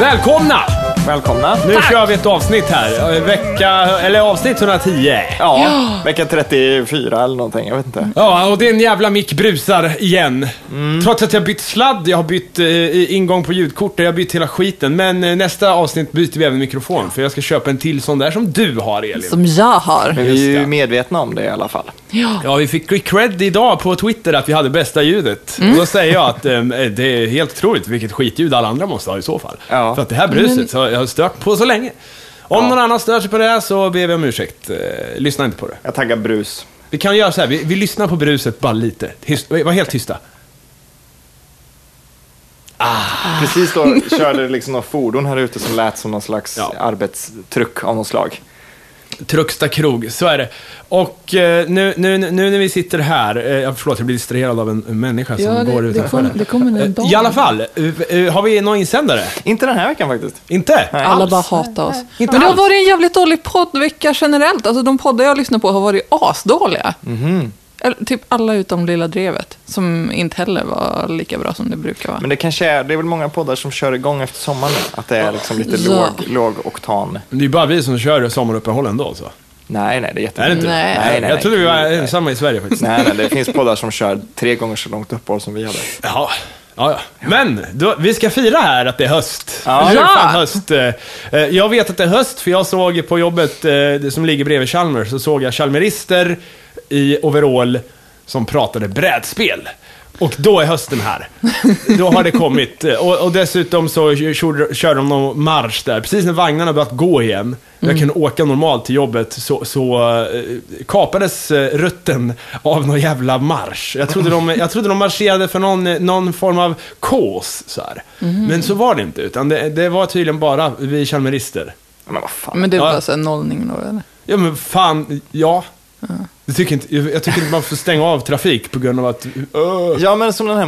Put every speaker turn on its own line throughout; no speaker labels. Välkomna!
Välkomna.
Nu kör vi ett avsnitt här. Eh, Vecka, eller avsnitt 110.
Ja, vecka 34 eller någonting, jag vet inte.
Ja, och din jävla mick brusar igen. Trots att jag bytt sladd, jag har bytt eh, ingång på ljudkortet, jag har bytt hela skiten. Men eh, nästa avsnitt byter vi även mikrofon, för jag ska köpa en till sån där som du har, Elin.
Som jag har.
Men vi är ju
det.
medvetna om det i alla fall.
Ja, vi fick cred idag på Twitter att vi hade bästa ljudet. Och då säger jag att eh, det är helt otroligt vilket skitljud alla andra måste ha i så fall.
Ja.
För att det här bruset så har jag stört på så länge. Om någon annan stör sig på det här så ber vi om ursäkt. Eh, Lyssna inte på det.
Jag taggar brus.
Vi kan göra så här, vi, vi lyssnar på bruset bara lite. Tyst, var helt tysta.
Precis då körde det liksom några fordon här ute som lät som någon slags
Ja.
arbetstruck av något slag.
Trucksta krog, så är det. Och eh, nu, nu, nu när vi sitter här, eh, jag förlåt jag blir distraherad av en en människa som
Ja, det-
går
det
utanför.
kom-
här.
det kommer en
Eh,
dag.
I alla fall, eh, eh, har vi någon insändare?
Inte den här veckan faktiskt.
Inte?
Alla
Alls?
bara hatar oss.
Inte
Men det har
alls.
varit en jävligt dålig poddvecka generellt. Alltså de poddar jag lyssnar på har varit asdåliga.
Mhm.
Eller, typ alla utom Lilla Drevet, som inte heller var lika bra som det brukar vara.
Men det kanske är, det är väl många poddar som kör igång efter sommaren nu. Att det är liksom lite
Ja.
låg, låg oktan.
Men Det är ju bara vi som kör sommaruppehåll ändå så.
Nej, nej, det är
Är det
jättebra.
inte
Nej.
det?
Nej, nej,
Jag trodde vi var
nej.
ensamma i Sverige faktiskt.
Nej, nej, det finns poddar som kör tre gånger så långt uppehåll som vi hade.
Ja. Ja, ja. Men då, vi ska fira här att det är höst.
Ja.
Eller hur?
Ja.
Fan, höst. Eh, eh, Jag vet att det är höst för jag såg på jobbet eh, det som ligger bredvid Chalmers, så såg jag chalmerister i overall som pratade brädspel. Och då är hösten här. Då har det kommit. Eh, Och, och dessutom så kör, kör de någon marsch där. Precis när vagnarna börjat gå igen, och jag kunde åka normalt till jobbet, så, så eh, kapades eh, rutten av någon jävla marsch. Jag trodde de, jag trodde de marscherade för någon, eh, någon form av kås. Så här. Men så var det inte, utan det, det var tydligen bara vi chalmerister.
Men vad fan.
Men det
Ja.
var så här nollning då, eller?
Ja men fan, ja. Jag tycker, inte, jag jag tycker inte man får stänga av trafik på grund av att... Öh.
Ja, men som den här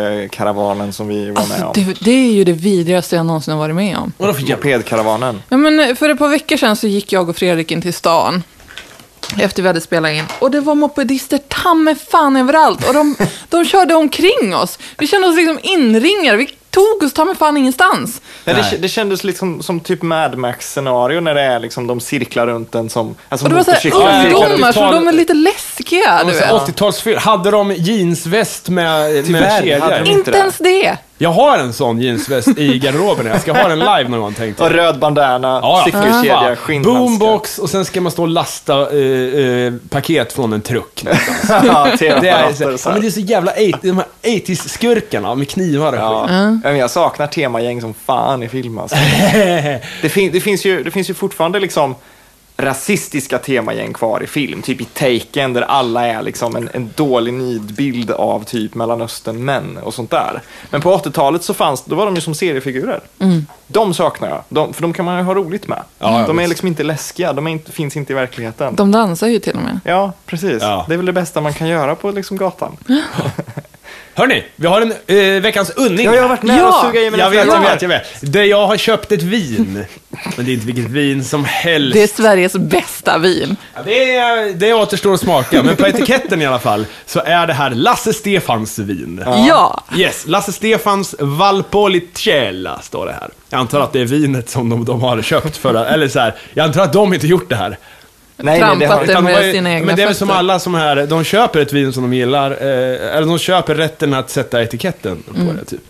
mopedkaravanen som vi var med
Alltså,
om.
det, det är ju det vidrigaste jag någonsin har varit med om.
Vadå för jävla...
Mopedkaravanen.
Ja, men eh, för ett par veckor sedan så gick jag och Fredrik in till stan. Efter vi hade spelat in. Och det var mopedister tamme fan överallt. Och de, de körde omkring oss. Vi kände oss liksom inringade. Vi tog oss tamme fan ingenstans.
Ja, det,
Nej.
det kändes liksom som typ Mad Max-scenario när det är liksom de cirklar runt en som... Alltså
Och det var så
motorcyklar
här
Motorcyklar.
cirklar runt.
ungdomar, så de är lite läskiga. Du
Alltså,
vet.
80-talsfyll. Hade de jeansväst med, med
Tyvärr hade
kedjor?
de
Inte ens det.
Jag har en sån jeansväst i garderoben. Jag ska ha den live någon gång tänkte
Och
jag.
röd bandana,
Ja, ja.
cykelkedja,
Fan.
skinnhandskar.
Boombox och sen ska man stå och lasta eh, eh, paket från en truck.
ja,
Det är, så,
tv-apparater och
ja,
så
men
här.
det är så jävla 80, de här 80s-skurkarna med knivar och
Ja.
skit.
Ja, men jag saknar temagäng som fan i film alltså. det, fin- det, finns ju, det finns ju fortfarande liksom rasistiska temagäng kvar i film. Typ i Taken där alla är liksom en, en dålig nidbild av typ Mellanöstern-män och sånt där. Men på 80-talet så fanns, då var de ju som seriefigurer.
Mm.
De saknar jag, de, för de kan man ju ha roligt med.
Ja, ja,
de är
visst.
liksom inte läskiga, de är inte, finns inte i verkligheten.
De dansar ju till och med.
Ja, precis.
Ja.
Det är väl det bästa man kan göra på liksom gatan.
Mm.
Hörni, vi har en eh, veckans unning.
Ja, jag har varit nära
Ja,
att suga i mina
Jag vet, jag
föräldrar.
vet, jag vet. Det jag har köpt ett vin. Men det är inte vilket vin som helst.
Det är Sveriges bästa vin.
Ja, Det, är, det återstår att smaka, men på etiketten i alla fall så är det här Lasse Stefans vin.
Ja.
Yes, Lasse Stefans Valpolicella står det här. Jag antar att det är vinet som de, de har köpt för det, eller så här, jag antar att de inte gjort det här.
Nej, nej, det har jag
Trampat det
Utan de
med
har ju-
sina egna
men det är väl som
fötter.
alla som här, de köper ett vin som de gillar, eh, eller de köper rätten att sätta etiketten på
Mm.
det typ.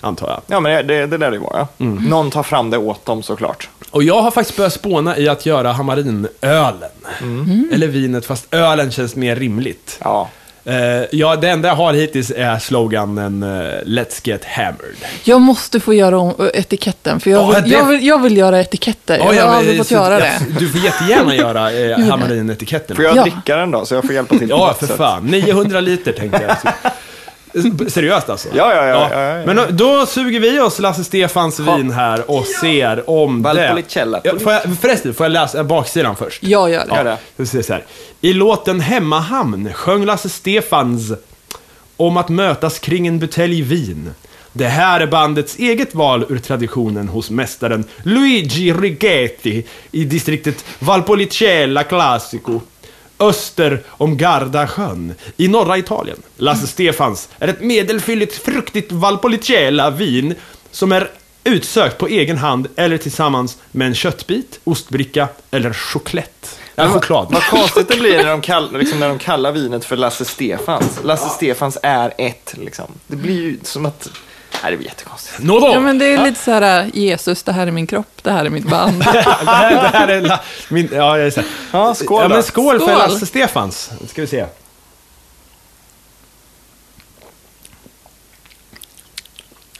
Antar jag.
Ja, men det, det, det lär det ju vara. Ja.
Mm.
Någon tar fram det åt dem såklart.
Och jag har faktiskt börjat spåna i att göra hamarinölen.
Mm.
Eller vinet, fast ölen känns mer rimligt.
Ja.
Eh, ja, det enda jag har hittills är sloganen eh, Let's get hammered.
Jag måste få göra om ö, etiketten, för jag
Ja,
vill,
det-
jag vill, jag vill göra etiketter.
Ja,
jag
ja,
har
men-
aldrig fått
så-
göra
ja,
det.
Du får jättegärna göra eh, Hamarin-etiketten.
Får jag
Ja.
dricka den då, så jag får hjälpa till på
Ja,
något
för
sätt?
fan. 900 liter tänkte jag. Seriöst alltså?
Ja, ja, ja, ja, ja, ja.
Men då, då suger vi oss Lasse Stefans vin här och ser om
Valpolicella.
det... Ja, får jag, förresten, får jag läsa baksidan först?
Jag gör det.
Ja. det.
Det säger så här. I låten Hemmahamn sjöng Lasse Stefans om att mötas kring en butelj vin. Det här är bandets eget val ur traditionen hos mästaren Luigi Rigetti i distriktet Valpolicella Classico. Öster om Gardasjön i norra Italien. Lasse Stefans är ett medelfylligt fruktigt Valpolicella vin som är utsökt på egen hand eller tillsammans med en köttbit, ostbricka eller choklad. Ja,
Men vad-
choklad.
Vad konstigt det blir när de, kall, liksom, när de kallar vinet för Lasse Stefans. Lasse Stefans är ett, liksom. Det blir ju som att... Nej, det blir jättekonstigt.
Nådå!
Ja, men det är lite så här, Jesus, det här är min kropp, det här är mitt band.
det, här, det här är... La, min, ja, jag är så här.
Ja, skål
ja,
då.
men skål, för
Skål.
Lasse Stefans. Nu ska vi se.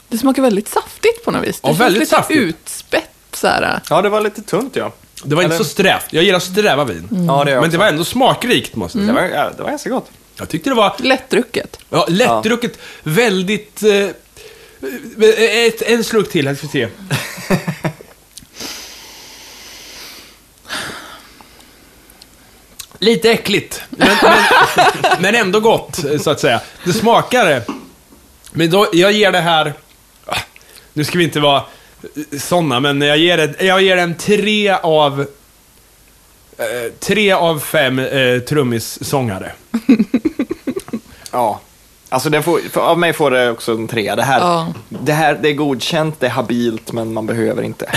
Det smakar väldigt saftigt på något vis. Det
Ja,
känns
väldigt
lite
saftigt.
utspätt så här.
Ja, det var lite tunt ja.
Det var inte
Eller-
så strävt. Jag gillar sträva vin.
Mm. Ja, det gör jag
men det
också.
var ändå smakrikt, måste jag säga.
Mm.
Det var, ja, det var ganska gott.
Jag tyckte det var
Lättdrucket.
ja, lättdrucket, väldigt... Eh, ett, en slurk till, här ska vi se. Lite äckligt, men, men, men ändå gott, så att säga. Det smakar... eh, Men då, jag ger det här... ah, Nu ska vi inte vara sådana, men jag ger, det, jag ger den tre av... eh, Tre av fem eh, trummissångare.
Ja. Alltså, den får, för, av mig får det också en trea. Det här,
Ja.
det här det är godkänt, det är habilt, men man behöver inte.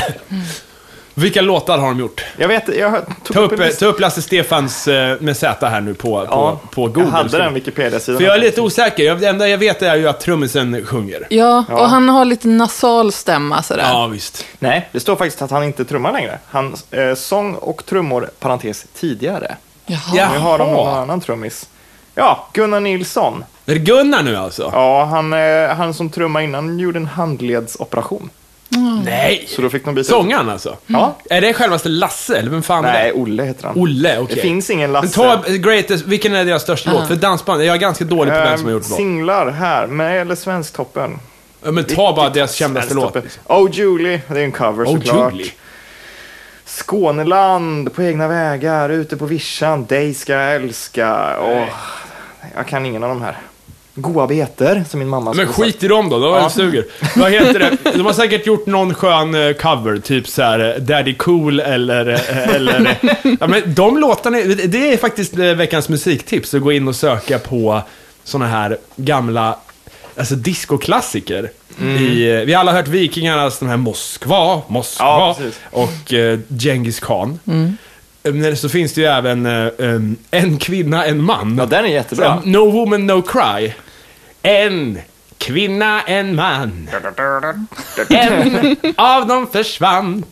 Vilka låtar har de gjort?
Jag vet, jag hör- tog
Ta upp,
en
eh,
lista.
ta upp Lasse Stefans eh, med Z här nu på,
ja,
på, på Google.
Jag hade den Wikipedia-sidan.
För jag är lite osäker. Jag, det enda jag vet är ju att trummisen sjunger.
Ja,
Ja.
och han har lite nasal stämma sådär.
Ja, visst.
Nej, det står faktiskt att han inte trummar längre. Han eh, sång och trummor, parentes, tidigare.
Jaha.
Ja.
Nu har de någon
Jaha.
annan trummis. Ja, Gunnar Nilsson.
Är det Gunnar nu alltså?
Ja, han, eh, han som trummade innan gjorde en handledsoperation.
Nej!
Så då fick de byta ut-
Sångaren alltså?
Ja.
Är det självaste Lasse, eller vem fan är
Nej,
det?
Olle heter han.
Mm. Olle, okej.
Det finns ingen
Men
Lasse.
ta eh, Greatest, vilken är deras största låt? För dansband, jag är ganska dålig på vem som har
Eh,
gjort låt.
singlar här, med eller Svensktoppen.
Ja, Men ta bara deras kändaste låt.
Svensktoppen. Oh Julie, det är en cover
Oh,
såklart.
Julie.
Skåneland, På egna vägar, Ute på vischan, Dig ska jag älska. Åh, jag kan ingen av de här. Goa beter, som min mamma
Men
skulle sagt.
skit i dem då, de
Ja.
suger. Vad heter det? De har säkert gjort någon skön eh, cover, typ så här eh, Daddy Cool eller... eh, eller eh, ja, men de låtarna, det är faktiskt eh, veckans musiktips, att gå in och söka på såna här gamla, alltså discoklassiker.
Mm.
I, eh, vi har alla hört Vikingarnas, de här Moskva, Moskva
Ja, precis.
och eh, Genghis Khan. Eh, Men så finns det ju även eh, em, En kvinna, en man.
Ja, den är jättebra.
No woman, no cry. En kvinna, en man. En av dem försvann.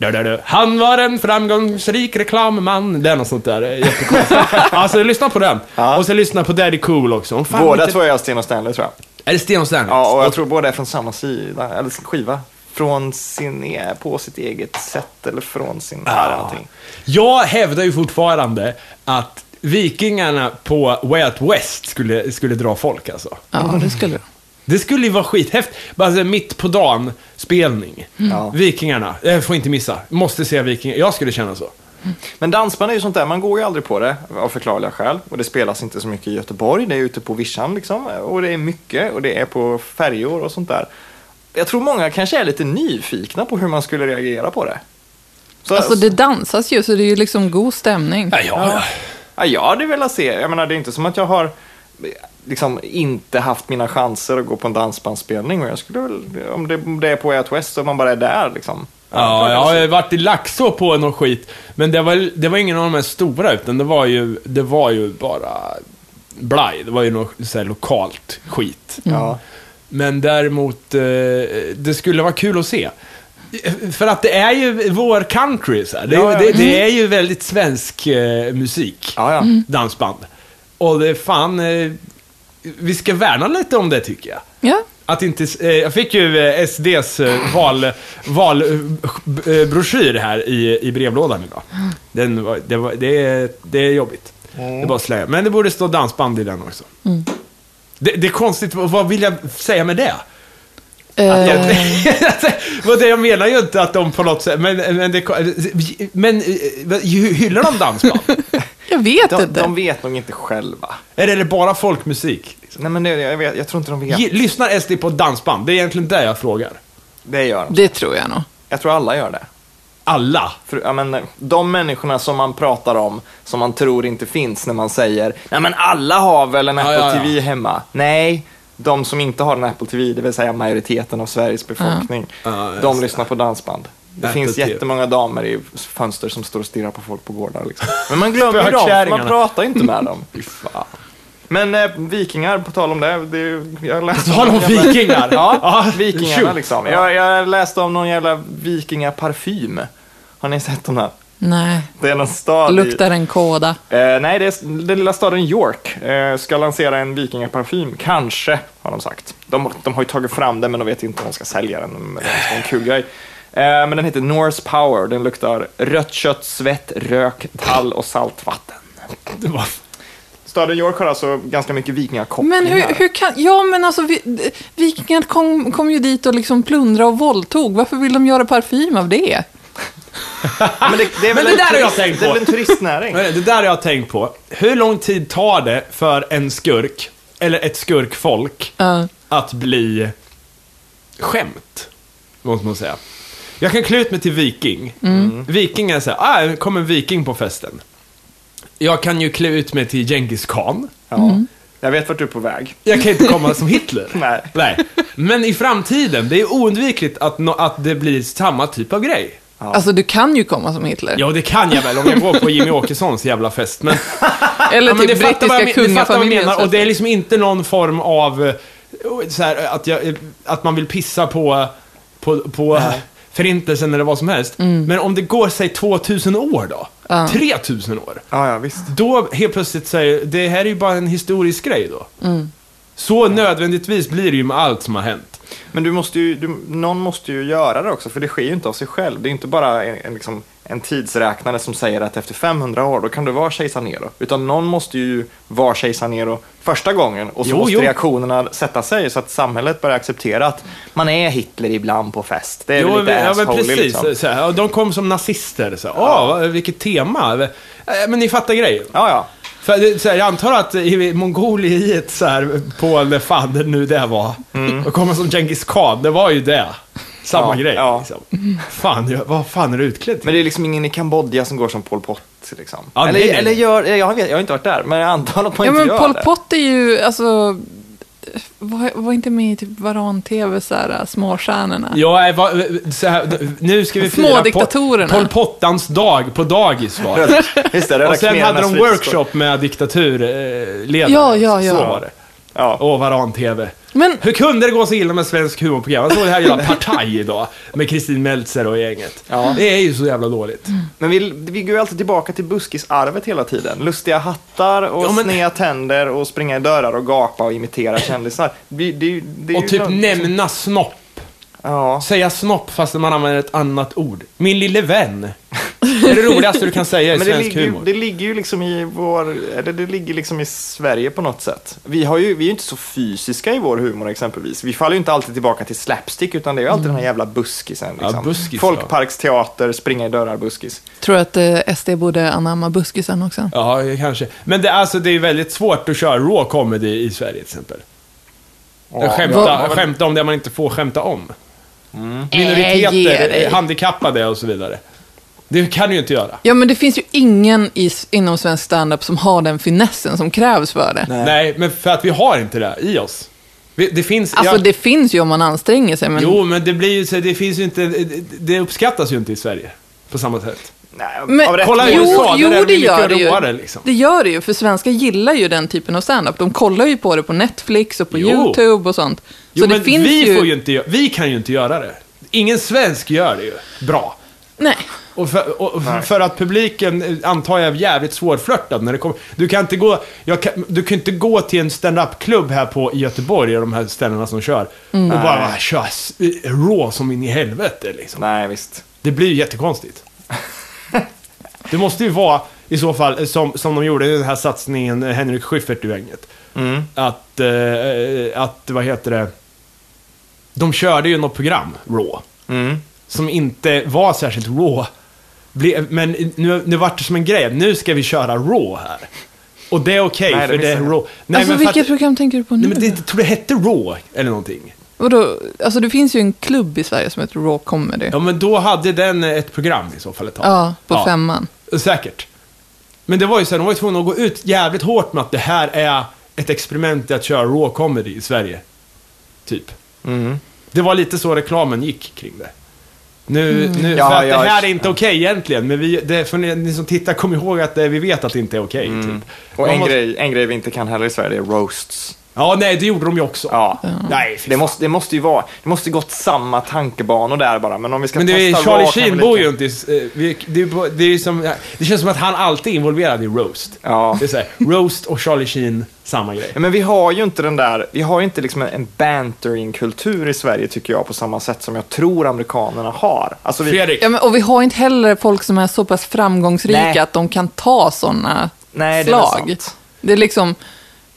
Han var en framgångsrik reklamman. Det är något sånt där. eh, Jättekonstigt. Alltså, lyssna på den.
Ja.
Och så lyssna på Daddy Cool också. Om fan
Båda
inte-
två är jag Sten och Stanley tror jag.
Är det Sten och Stanley?
Ja, och jag tror båda är från samma sida, eller skiva. Från sin, e- på sitt eget sätt eller från sin här eller någonting.
Jag hävdar ju fortfarande att vikingarna på Way Out West skulle, skulle dra folk alltså.
ja, det skulle du.
Det skulle ju vara skithäftigt. Alltså mitt på dagen spelning.
Ja.
Vikingarna. Jag får inte missa. Måste se Vikingar. Jag skulle känna så.
Men dansband är ju sånt där, man går ju aldrig på det av förklarliga skäl. Och det spelas inte så mycket i Göteborg, det är ute på vischan liksom. Och det är mycket och det är på färjor och sånt där. Jag tror många kanske är lite nyfikna på hur man skulle reagera på det. Så,
Alltså det dansas ju, så det är ju liksom god stämning.
Ja, ja.
Ja, jag hade velat se. Jag menar, det är inte som att jag har eh, liksom inte haft mina chanser att gå på en dansbandsspelning. Och jag skulle väl, om det, om det är på Way Out West och man bara är där liksom.
Ja, jag
jag
har
hade
ju varit i Laxå på någon skit. Men det var, det var ingen av de här stora, utan det var ju, det var ju bara blaj. Det var ju något så här lokalt skit.
Mm.
Ja.
Men däremot, eh, det skulle vara kul att se. För att det är ju vår country, så här. Det, är ju-
Ja, ja, Mm.
det, det är ju väldigt svensk eh, musik.
Ja, ja.
dansband. Och det är fan, eh, vi ska värna lite om det tycker jag.
Ja,
Att inte, eh, jag fick ju eh, SDs eh, val, val, eh, eh, broschyr här i, i brevlådan idag. Den var, det, var, det, är, det är jobbigt. Det är bara att slänga. Men det borde stå dansband i den också. Det, det är konstigt, vad vad vill jag säga med det? Att
eh,
de, Vad det jag menar ju inte att de på något sätt, men, men, det, men eh, vad- hyllar de dansband?
jag vet
De,
inte.
de vet nog inte själva.
Eller är det bara folkmusik?
Nej, men det, jag, vet, jag tror inte de vet.
Ge, lyssnar SD på dansband? Det är egentligen det jag frågar.
Det gör de.
Det tror jag nog.
Jag tror alla gör det.
Alla.
För, ja, men, de människorna som man pratar om, som man tror inte finns när man säger Nej men alla har väl en
Ja,
Apple
ja, ja.
TV hemma. Nej, de som inte har en Apple TV, det vill säga majoriteten av Sveriges befolkning,
Ja, just
de
det.
lyssnar på dansband. Det
Apple
finns
TV.
jättemånga damer i fönster som står och stirrar på folk på gårdar. Liksom. Men man glömmer ju dem, för man
Spökkärringarna.
pratar ju inte med dem. Fy fan. Men eh, vikingar, på tal om det, det är ju- jag läste
På tal om
någon jävla-
vikingar.
Ja,
Ja,
vikingarna
shoot.
liksom. Jag, jag läste om någon jävla vikingaparfym. Har ni sett den här?
Nej,
Det är någon stad i-
luktar en kåda.
Eh, nej, det är den lilla staden York eh, ska lansera en vikingaparfym, kanske, har de sagt. De, de har ju tagit fram den, men de vet inte om de ska sälja den. Men Det ska vara en kul grej. Eh, men den heter Norse Power. Den luktar rött kött, svett, rök, tall och saltvatten.
Det var...
Staden York har alltså ganska mycket vikingakopplingar.
Men hur, hur kan... Ja, men alltså vi, d- vikingarna kom, kom ju dit och liksom plundrade och våldtog. Varför vill de göra parfym av det?
Ja, men det, det är väl
Men det
en
där har jag
turist-
tänkt
Det är
på.
väl en turistnäring?
Men Det där har jag tänkt på. Hur lång tid tar det för en skurk, eller ett skurkfolk,
Ja.
att bli skämt? Måste man säga. Jag kan klä ut mig till viking. Mm. Viking är såhär, ah, det kom en viking på festen. Jag kan ju klä ut mig till Genghis khan.
Ja.
Mm.
Jag vet vart du är på väg.
Jag kan inte komma som Hitler.
Nej.
Men i framtiden, det är oundvikligt att, nå- att det blir samma typ av grej.
Alltså, du kan ju komma som Hitler.
Ja, det kan jag väl om jag går på Jimmy Åkessons jävla fest. Men
Eller
Ja, men
till
du fattar vad
typ brittiska
jag, men- du fattar vad jag
kungafamiljen.
menar. Och det är liksom inte någon form av eh, så här, att, jag, eh, att man vill pissa på, på, på
Äh.
eh, förintelsen eller vad som helst.
Mm.
Men om det går, säg 2000 år då? 3000 år?
Ja, ja, visst.
Då helt plötsligt säger det här är ju bara en historisk grej då.
Mm.
Så nödvändigtvis blir det ju med allt som har hänt.
Men du måste ju, du, någon måste ju göra det också, för det sker ju inte av sig själv. Det är inte bara en, en, liksom, en tidsräknare som säger att efter 500 år, då kan du vara kejsar Nero. Utan någon måste ju vara kejsar Nero första gången och så
Jo,
måste
jo.
reaktionerna sätta sig så att samhället börjar acceptera att man är Hitler ibland på fest. Det är
Jo,
väl lite
ja, men
assholy,
precis.
liksom.
Så här, och de kom som nazister. Så, här, Åh, vilket tema. Eh, Men ni fattar grejen.
Ja, ja.
För det, så här, jag antar att i Mongoliet så här, på när fan det nu det var, och komma som Genghis khan, det var ju det. Samma
Mm. Ja,
grej
ja.
liksom. Fan, jag, vad fan är du utklädd till?
Men det är liksom ingen i Kambodja som går som Pol Pot. Liksom.
Ja,
eller,
nej, nej.
eller gör, jag, vet, jag har inte varit där, men jag antar att man
Ja,
inte
men
gör
Pol
det.
Pot är ju, alltså, var, var inte med i typ Varan-TV, så här, småstjärnorna.
Ja, eh, va, eh, så här, nu ska vi
Små
fira
diktatorerna.
Pol Pottans dag på dagis var det.
Just det, Röda
Och sen hade
khmerernas
de
fritidsgård.
workshop med diktaturledare.
Ja, ja, ja.
Så var det.
Ja.
Och Varan-TV.
Men-
Hur kunde det gå så illa med svensk humorprogram? Jag såg det här jävla Partaj idag, med Kristin Meltzer och gänget.
Ja.
Det är ju så jävla dåligt.
Men vi, vi går ju alltid tillbaka till buskisarvet hela tiden. Lustiga hattar och
Ja, men-
sneda tänder och springa i dörrar och gapa och imitera kändisar. Det, det, det är
Och
ju
typ
något-
nämna snopp.
Ja.
Säga snopp fast man använder ett annat ord. Min lille vän. Det är det roligaste du kan säga i
Men det
svensk
ligger, ju-
humor.
det ligger ju liksom i vår, eller det ligger liksom i Sverige på något sätt. Vi, har ju, vi är ju inte så fysiska i vår humor exempelvis. Vi faller ju inte alltid tillbaka till slapstick utan det är ju alltid den här jävla buskisen.
Mm. Ja,
Liksom.
buskis, ja.
Folkparksteater, springa i dörrar, buskis.
Tror att eh, SD borde anamma buskisen också.
Ja, kanske. Men det, alltså, det är ju väldigt svårt att köra raw comedy i Sverige till exempel. Skämta, skämta om det man inte får skämta om.
Mm.
Äh, ge
Minoriteter,
dig.
eh, handikappade och så vidare. Det kan du ju inte göra.
Ja, men det finns ju ingen i, inom svensk standup som har den finessen som krävs för det.
Nej. men för att vi har inte det i oss. Vi, det finns...
Alltså,
jag-
det finns ju om man anstränger sig, men
Jo, men det blir ju så, det finns ju inte... det- Det uppskattas ju inte i Sverige på samma sätt.
Nej,
Men,
av rätt
Kolla
jo,
USA, där
jo,
det
det,
blir
gör det
mycket
ju.
råare, liksom.
Det gör det ju, för svenskar gillar ju den typen av stand-up. De kollar ju på det på Netflix och på
Jo.
YouTube och sånt. Så
Jo,
det
men
finns
vi,
ju...
Får ju inte, gö- vi kan ju inte göra det. Ingen svensk gör det ju bra.
Nej.
Och för, och och för att publiken eh, antar jag är jävligt svårflörtad när det kommer. Du kan inte gå, jag kan, du kan inte gå till en stand-up-klubb här på i Göteborg, de här ställena som kör, och bara köra s- eh, raw som in i helvete liksom.
Nej, visst.
Det blir ju jättekonstigt. det måste ju vara, i så fall, eh, som, som de gjorde i den här satsningen eh, Henrik Schyffert-duänget.
Mm.
Att, eh, eh, att, vad heter det? De körde ju något program, Raw,
Mm.
som inte var särskilt Raw. Ble- Men nu, nu vart det som en grej, nu ska vi köra Raw här. Och det är okej,
Nej, det
för det är
missade jag.
Raw. Nej,
alltså,
men för
vilket
att,
program tänker du på nu?
nej, men det, jag tror det hette Raw, eller någonting.
Vadå? Alltså, det finns ju en klubb i Sverige som heter Raw Comedy.
Ja, men då hade den eh, ett program i så fall ett tag.
Ja, på
Ja.
femman.
Säkert. Men det var ju så här, de var ju tvungna att gå ut jävligt hårt med att det här är ett experiment i att köra raw comedy i Sverige. Typ.
Mm.
Det var lite så reklamen gick kring det. Nu, nu,
Ja,
för att
ja,
det här är
ja.
inte okej egentligen, men vi, det, för ni, ni som tittar, kom ihåg att det, vi vet att det inte är okej. typ.
Mm. Och
Man
en,
måste-
grej, en grej vi inte kan heller i Sverige är roasts.
Ja, nej, det gjorde de ju också.
Ja.
Nej, fy
Det måste, det måste ju vara, det måste gått samma tankebanor där bara, men om vi ska
Men det är
testa
Charlie
raw kan vi
Sheen
lika-
bor ju inte i- eh, vi- det, är på- det, är ju som, det känns som att han alltid är involverad i roast.
Ja.
Det är så här, roast och Charlie Sheen, samma grej.
Ja, men vi har ju inte den där, vi har ju inte liksom en- en bantering-kultur i Sverige tycker jag på samma sätt som jag tror amerikanerna har. Alltså vi,
Fredrik,
Ja, men, och vi har inte heller folk som är så pass framgångsrika
Nej.
att de kan ta sådana
Nej, det är väl
slag.
sant.
det är liksom,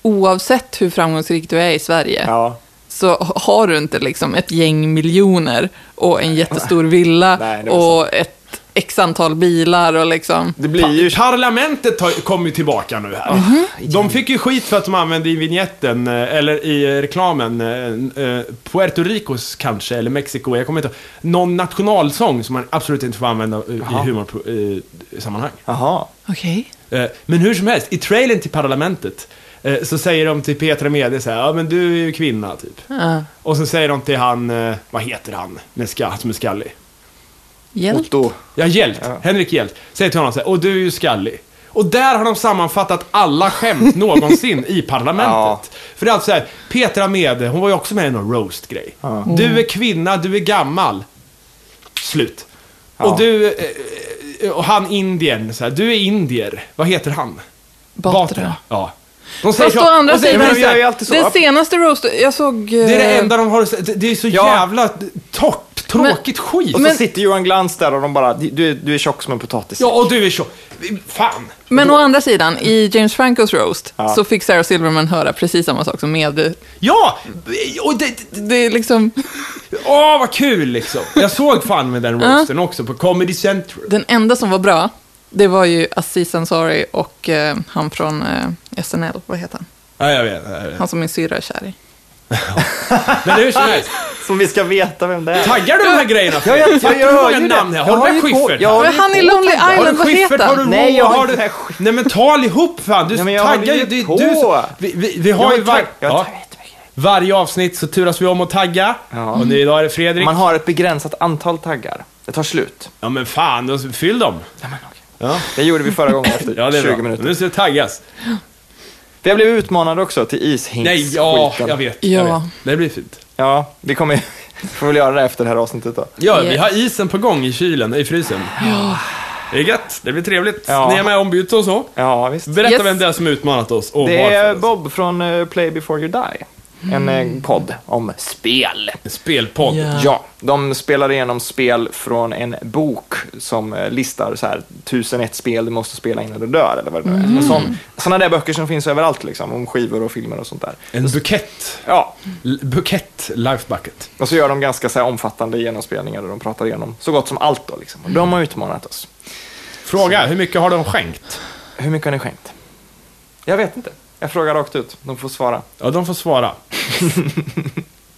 oavsett hur framgångsrik du är i Sverige,
Ja,
så har du inte liksom ett gäng miljoner och en jättestor villa
Nej, det är
och ett x antal bilar och liksom...
det blir ju...
parlamentet tar- kom ju tillbaka nu här.
Mhm.
De fick ju skit för att de använde i vignetten, eh, eller i eh, reklamen, eh, eh, Puerto Ricos kanske, eller Mexiko, jag kommer inte ihåg. Någon nationalsång som man absolut inte får använda i
Jaha.
humorsammanhang.
Jaha.
Okej.
Eh, Men hur som helst, i trailern till parlamentet eh, så säger de till Petra Mede så här, ja men du är ju kvinna typ.
Mm.
Ja.
Och så säger de till han, eh, vad heter han, med ska, som är skallig?
Hjälp.
Otto.
Ja, Hjält.
Ja.
Henrik Hjält. Säger till honom så här, och du är ju skallig. Och där har de sammanfattat alla skämt någonsin i parlamentet.
Ja.
För det är alltså så här, Petra Mede, hon var ju också med i någon roast-grej.
Ja.
Du är kvinna, du är gammal. Slut.
Ja.
Och du, eh, eh, och han indien, så här, du är indier. Vad heter han?
Batra.
Ja. De
Fast
så-
å andra
de säger
sidan-
så här,
Men jag är ju alltid så.
Den senaste roast... Jag såg... eh,
det är det enda de har Det- Det är så
Ja.
jävla torrt, tråkigt skit.
Och så
Men-
sitter Johan Glans där och de bara, du, är- du är tjock som en potatis.
Ja, och du är så. Fan.
Men å andra sidan, i James Francos roast
Ja.
så fick Sarah Silverman höra precis samma sak som med...
Ja! Och det,
Det är liksom
Åh, vad kul liksom. Jag såg fan med den roasten också på Comedy Central.
den enda som var bra. Det var ju Aziz Ansari och eh, han från eh, SNL, vad heter han?
Ja, jag vet. jag vet.
Han som min syrra är kär i.
Men hur som helst,
Som vi ska veta vem det är.
taggar du de här grejerna?
Ja, jag- jag
Fattar du
gör
många
ju det.
namn här?
Jag
Har
har
du
ju
med
på-
Schyffert?
jag
här?
har-
Men han i Lonely
Har
Island,
du
vad
Schyffert?
heter
Har du
han?
Nej,
Roa?
jag har
har
inte
du...
med Schyffert.
Nej men tal ihop fan! Du
Ja, men jag
taggar
håller
ju...
ju
Du,
på.
du, som- vi, vi, vi har ju var...
Jag
ja.
tar jättemycket.
Varje avsnitt så turas vi om att tagga.
Ja.
Och nu idag är det Fredrik.
Man har ett begränsat antal taggar. Det tar slut.
Ja men fan, då fyll dem.
Ja, men okej.
Ja,
Det gjorde vi förra gången efter
ja det är
20
bra.
minuter.
Nu ska det taggas.
Jag blev utmanad också till
Nej,
ishinks
ja,
skiten.
jag vet. Jag
Ja.
vet. Det blir fint.
Ja, vi kommer vi får väl göra det efter det här avsnittet då.
Ja,
Yes.
vi har isen på gång i kylen, i frysen. Det är gött, det blir trevligt.
Ja.
Ni är med ombytta och så.
Ja, visst.
Berätta
Yes.
vem det är som utmanat oss och
Det
varför.
är Bob från eh, Play Before You Die. En eh, podd om spel.
En Spelpodd.
Ja.
Ja, de spelar igenom spel från en bok som eh, listar så här 1001 spel du måste spela innan du dör eller vad det nu är. En Sån, såna där böcker som finns överallt liksom, om skivor och filmer och sånt där.
En bukett.
Ja,
L- bukett, life bucket.
och så gör de ganska så här omfattande genomspelningar där de pratar igenom så gott som allt då liksom. Och de har utmanat oss.
Fråga, hur mycket har de skänkt?
Hur mycket har ni skänkt? Jag vet inte. Jag frågar rakt ut. De får svara.
Ja, de får svara.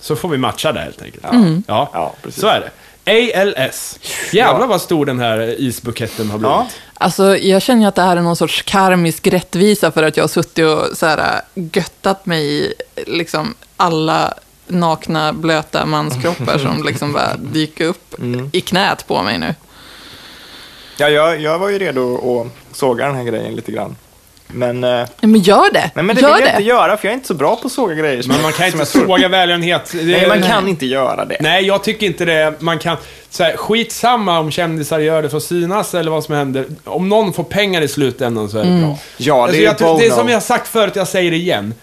så får vi matcha där helt enkelt. Ja,
Mm.
Ja, precis.
så är det. ALS. Jävlar
Ja.
vad stor den här isbuketten har blivit.
Ja.
Alltså, jag känner ju att det här är någon sorts karmisk rättvisa för att jag har suttit och så här, göttat mig i liksom, alla nakna, blöta manskroppar som liksom bara dyker upp
Mm.
i knät på mig nu.
Ja, jag, jag var ju redo att såga den här grejen lite grann. Men, eh,
Nej, men gör det!
nej, men det
gör
vill jag
det!
inte göra, för jag är inte så bra på att såga grejer. som-
Men man kan
som
inte
jag tror.
såga välgörenhet. Det-
Nej, man kan inte göra det.
Nej, jag tycker inte det. Man kan... Så här, skitsamma om kändisar gör det för att synas eller vad som händer. Om någon får pengar i slutändan så är det
Mm.
bra. Alltså,
Ja, det är
jag, tror- det är
Bono.
som jag har sagt förut, jag säger det igen.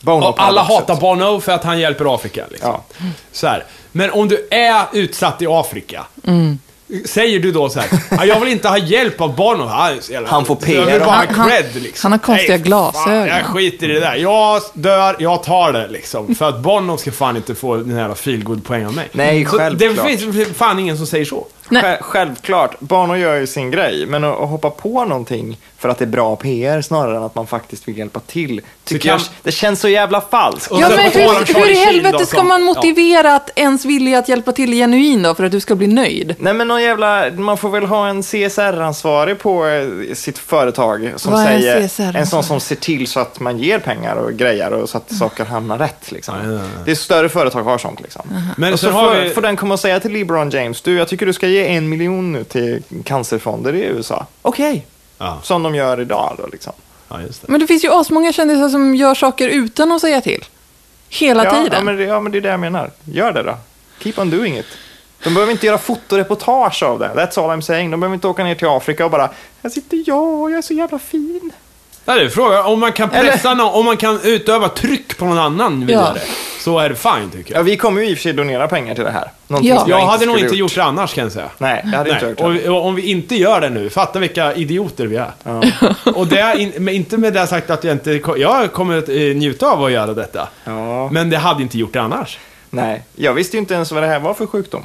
Bono
Och alla
paradoxet.
hatar Bono för att han hjälper Afrika. Liksom.
Ja.
Så här. Men om du är utsatt i Afrika,
Mm.
säger du då så här, "Ja, jag vill inte ha hjälp av Bono. Han, är så jävla-
Han får PR.
Jag vill bara ha
Han- han-
cred liksom.
han har konstiga
Nej,
glasögon."
Fan, jag skiter i det där. Jag dör, jag tar det liksom. För att Bono ska fan inte få den här feelgood poäng av mig.
Nej,
Så Det
självklart.
finns fan ingen som säger så.
Nej.
Själv- Självklart, Bono gör ju sin grej, men att, att hoppa på någonting för för att det är bra PR snarare än att man faktiskt vill hjälpa till. Tycker
jag-
jag, det känns så jävla falskt.
Och
Ja,
sen
men
på tal om
hur, hur
Charlie
i
Sheen
helvete
då,
ska
som-
man
ja.
motivera att ens vilja att hjälpa till är genuin då, för att du ska bli nöjd?
Nej men någon jävla, man får väl ha en CSR-ansvarig på eh, sitt företag som
Vad är en
säger,
CSR-ansvarig?
en sån som ser till så att man ger pengar och grejer och så att saker hamnar rätt. Liksom.
Ja, ja, ja.
Det är större företag har sånt liksom.
Men
och så
sen har
får,
vi-
får den komma och säga till LeBron James, du jag tycker du ska ge en miljon nu till cancerfonder i USA. Okej,
Ja,
som de gör idag då liksom.
ja, just det.
Men det finns ju asmånga kändisar som gör saker utan att säga till. Hela
Ja,
tiden.
ja, men, det- ja men det är det jag menar. Gör det då. Keep on doing it. De behöver inte göra fotoreportage av det. That's all I'm saying. De behöver inte åka ner till Afrika och bara, här sitter jag och jag är så jävla fin.
Ja, det är frågan om man kan
Eller-
pressa någon, om man kan utöva tryck på någon annan vidare.
Ja.
Så är det fine tycker
Ja,
jag.
vi kommer ju i och för sig donera pengar till det här. Någonting
Ja.
som
Jag hade nog
skulle
inte gjort det annars kan jag säga.
Nej, jag hade inte
Nej.
gjort det.
Och, och om vi inte gör det nu, fatta vilka idioter vi är.
Ja.
Och det är in, men inte med det sagt att jag inte... ko- Jag kommer att eh, njuta av att göra detta.
Ja.
Men det hade inte gjort det annars.
Nej, jag visste ju inte ens vad det här var för sjukdom.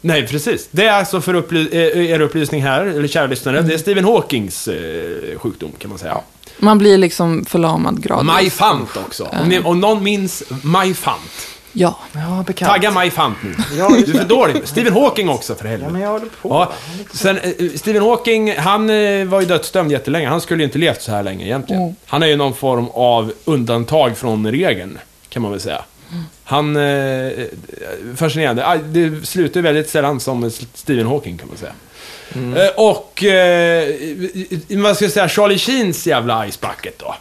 Nej, precis. Det är alltså för upply eh, er upplysning här, eller kära lyssnare, det är Stephen Hawkings eh, sjukdom kan man säga.
Man blir liksom förlamad gradvis.
Majfant också. Om, ni, om någon minns Majfant.
Ja.
Ja, bekant.
Tagga Majfant nu.
Ja,
Du är för dålig. Stephen Hawking också för
Ja, men
helvete.
jag håller på.
Ja, sen, eh, Stephen Hawking, han eh, var ju dödsdömd jättelänge. Han skulle ju inte levt så här länge egentligen.
Mm.
Han är ju någon form av undantag från regeln, kan man väl säga. Han... Eh, fascinerande. Ah, Det slutar ju väldigt sällan som Stephen Hawking, kan man säga.
Mm.
Eh, Och... Eh, vad ska jag säga? Charlie Sheens jävla Ice Bucket då.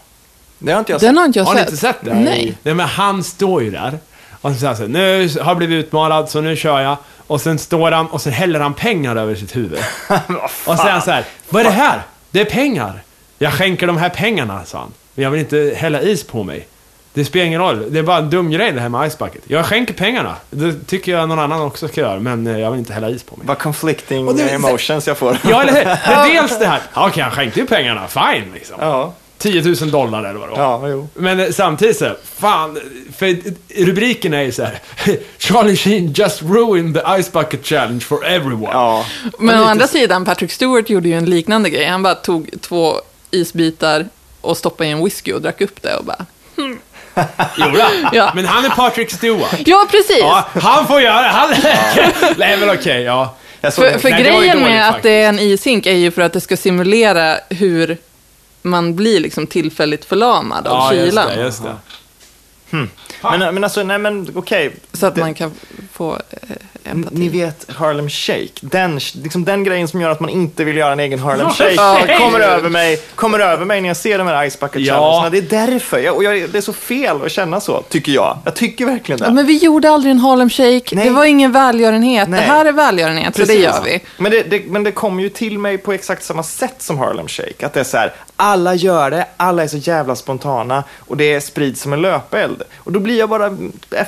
Det har inte jag sett.
Den har inte jag
Alltså, Har ni
sett.
inte sett det?
Nej.
Nej, men han står ju där. Och så säger han så här, nu har jag blivit utmanad så nu kör jag. Och sen står han och sen häller han pengar över sitt huvud.
Vad
Och så säger
fan.
han så här, vad är det här? Det är pengar. Jag skänker de här pengarna, sa han. Men jag vill inte hälla is på mig. Det spelar ingen roll, det är bara en dum grej det här med Ice Bucket. Jag skänker pengarna. Det tycker jag någon annan också ska göra, men eh, jag vill inte hälla is på mig.
Vad conflicting
Och det-
emotions jag får.
Ja, eller hur? Det är dels det här, ja, okej, han skänkte ju pengarna, fine liksom.
ja.
10 000 dollar eller vad det var.
ja, jo.
Men eh, samtidigt så, här, fan, för rubriken är ju så här. Charlie Sheen just ruined the ice bucket challenge for everyone.
Ja.
Men å andra sidan, Patrick Stewart gjorde ju en liknande grej. Han bara tog två isbitar och stoppade i en whisky och drack upp det och bara...
Jo, då.
Ja.
Men han är Patrick Stewart.
Ja, precis!
Ja, han får göra det. Han... Nej, men okej, ja.
Jag såg
För,
den.
för
Nej, det var ju
grejen
dåligt
med att
faktiskt.
det är en ishink är ju för att det ska simulera hur man blir liksom tillfälligt förlamad av
ja just
kylan.
det, just det.
men, men alltså, nej men okej.
Så att man kan få eh,
N-
empati.
Ni vet Harlem Shake, den, liksom den grejen som gör att man inte vill göra en egen Harlem
Ja,
Shake
shake.
kommer, över mig, kommer över mig när jag ser de här Ice Bucket
Ja.
Challengerna. Det är därför, jag, och jag, det är så fel att känna så, tycker jag. Jag tycker verkligen det.
Ja, men vi gjorde aldrig en Harlem Shake.
Nej.
Det var ingen välgörenhet.
Nej.
Det här är välgörenhet, så det
Precis.
gör vi.
Men det, det, men det kom ju till mig på exakt samma sätt som Harlem Shake. Att det är så här, alla gör det, alla är så jävla spontana och det sprids som en löpeld. Och då blir jag bara,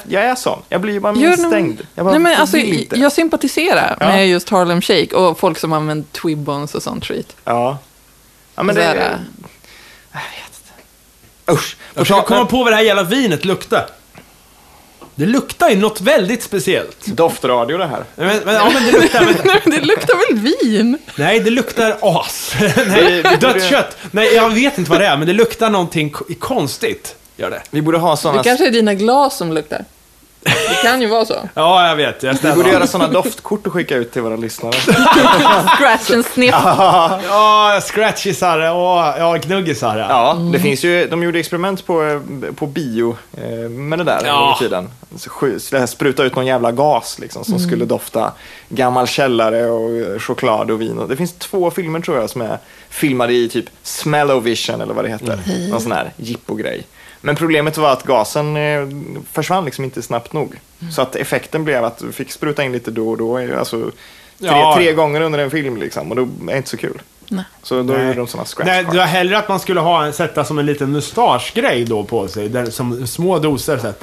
jag är sån, jag blir ju bara
Gör
misstängd.
någon-
Jag bara,
Nej, men
jag
alltså,
vill inte.
jag sympatiserar
Ja.
med just Harlem Shake och folk som använder Twibbons och sånt skit.
Ja. ja men
Så
det,
här,
jag vet
äh,
inte. Usch.
Jag försöker komma på vad det här jävla vinet luktar. Det luktar ju något väldigt speciellt.
Doftradio det här.
Men, men, ja, men det luktar... Men,
Nej, men det luktar väl vin?
Nej, det luktar as. Nej, dött kött. Nej, jag vet inte vad det är, men det luktar någonting ko- konstigt. Gör det.
Vi borde ha såna,
Det kanske är dina glas som luktar. Det kan ju vara så.
Ja, jag vet. Jag
vi
ställer
borde
av.
göra såna doftkort och skicka ut till våra lyssnare.
Scratch and sniff.
Ja, scratchisar och ja, gnuggisar. Ja.
Ja, det finns ju, de gjorde experiment på, eh, på bio eh, med det där en
Ja.
gång i tiden. Så sju- så det här Spruta ut någon jävla gas liksom, som skulle dofta gammal källare och eh, choklad och vin. Och Det finns två filmer tror jag som är filmade i typ Smellovision eller vad det heter. Någon sån här jippo-grej. Men problemet var att gasen eh, försvann liksom inte snabbt nog. Så att effekten blev att du fick spruta in lite då och då. eh, Alltså, tre,
Ja.
tre gånger under en film liksom. Och då är det inte så kul.
Nej.
Så då
Nej.
gjorde de sådana scratch
Nej,
cards.
det var hellre att man skulle ha en, sätta som en liten mustaschgrej då på sig. Där, som små doser så här.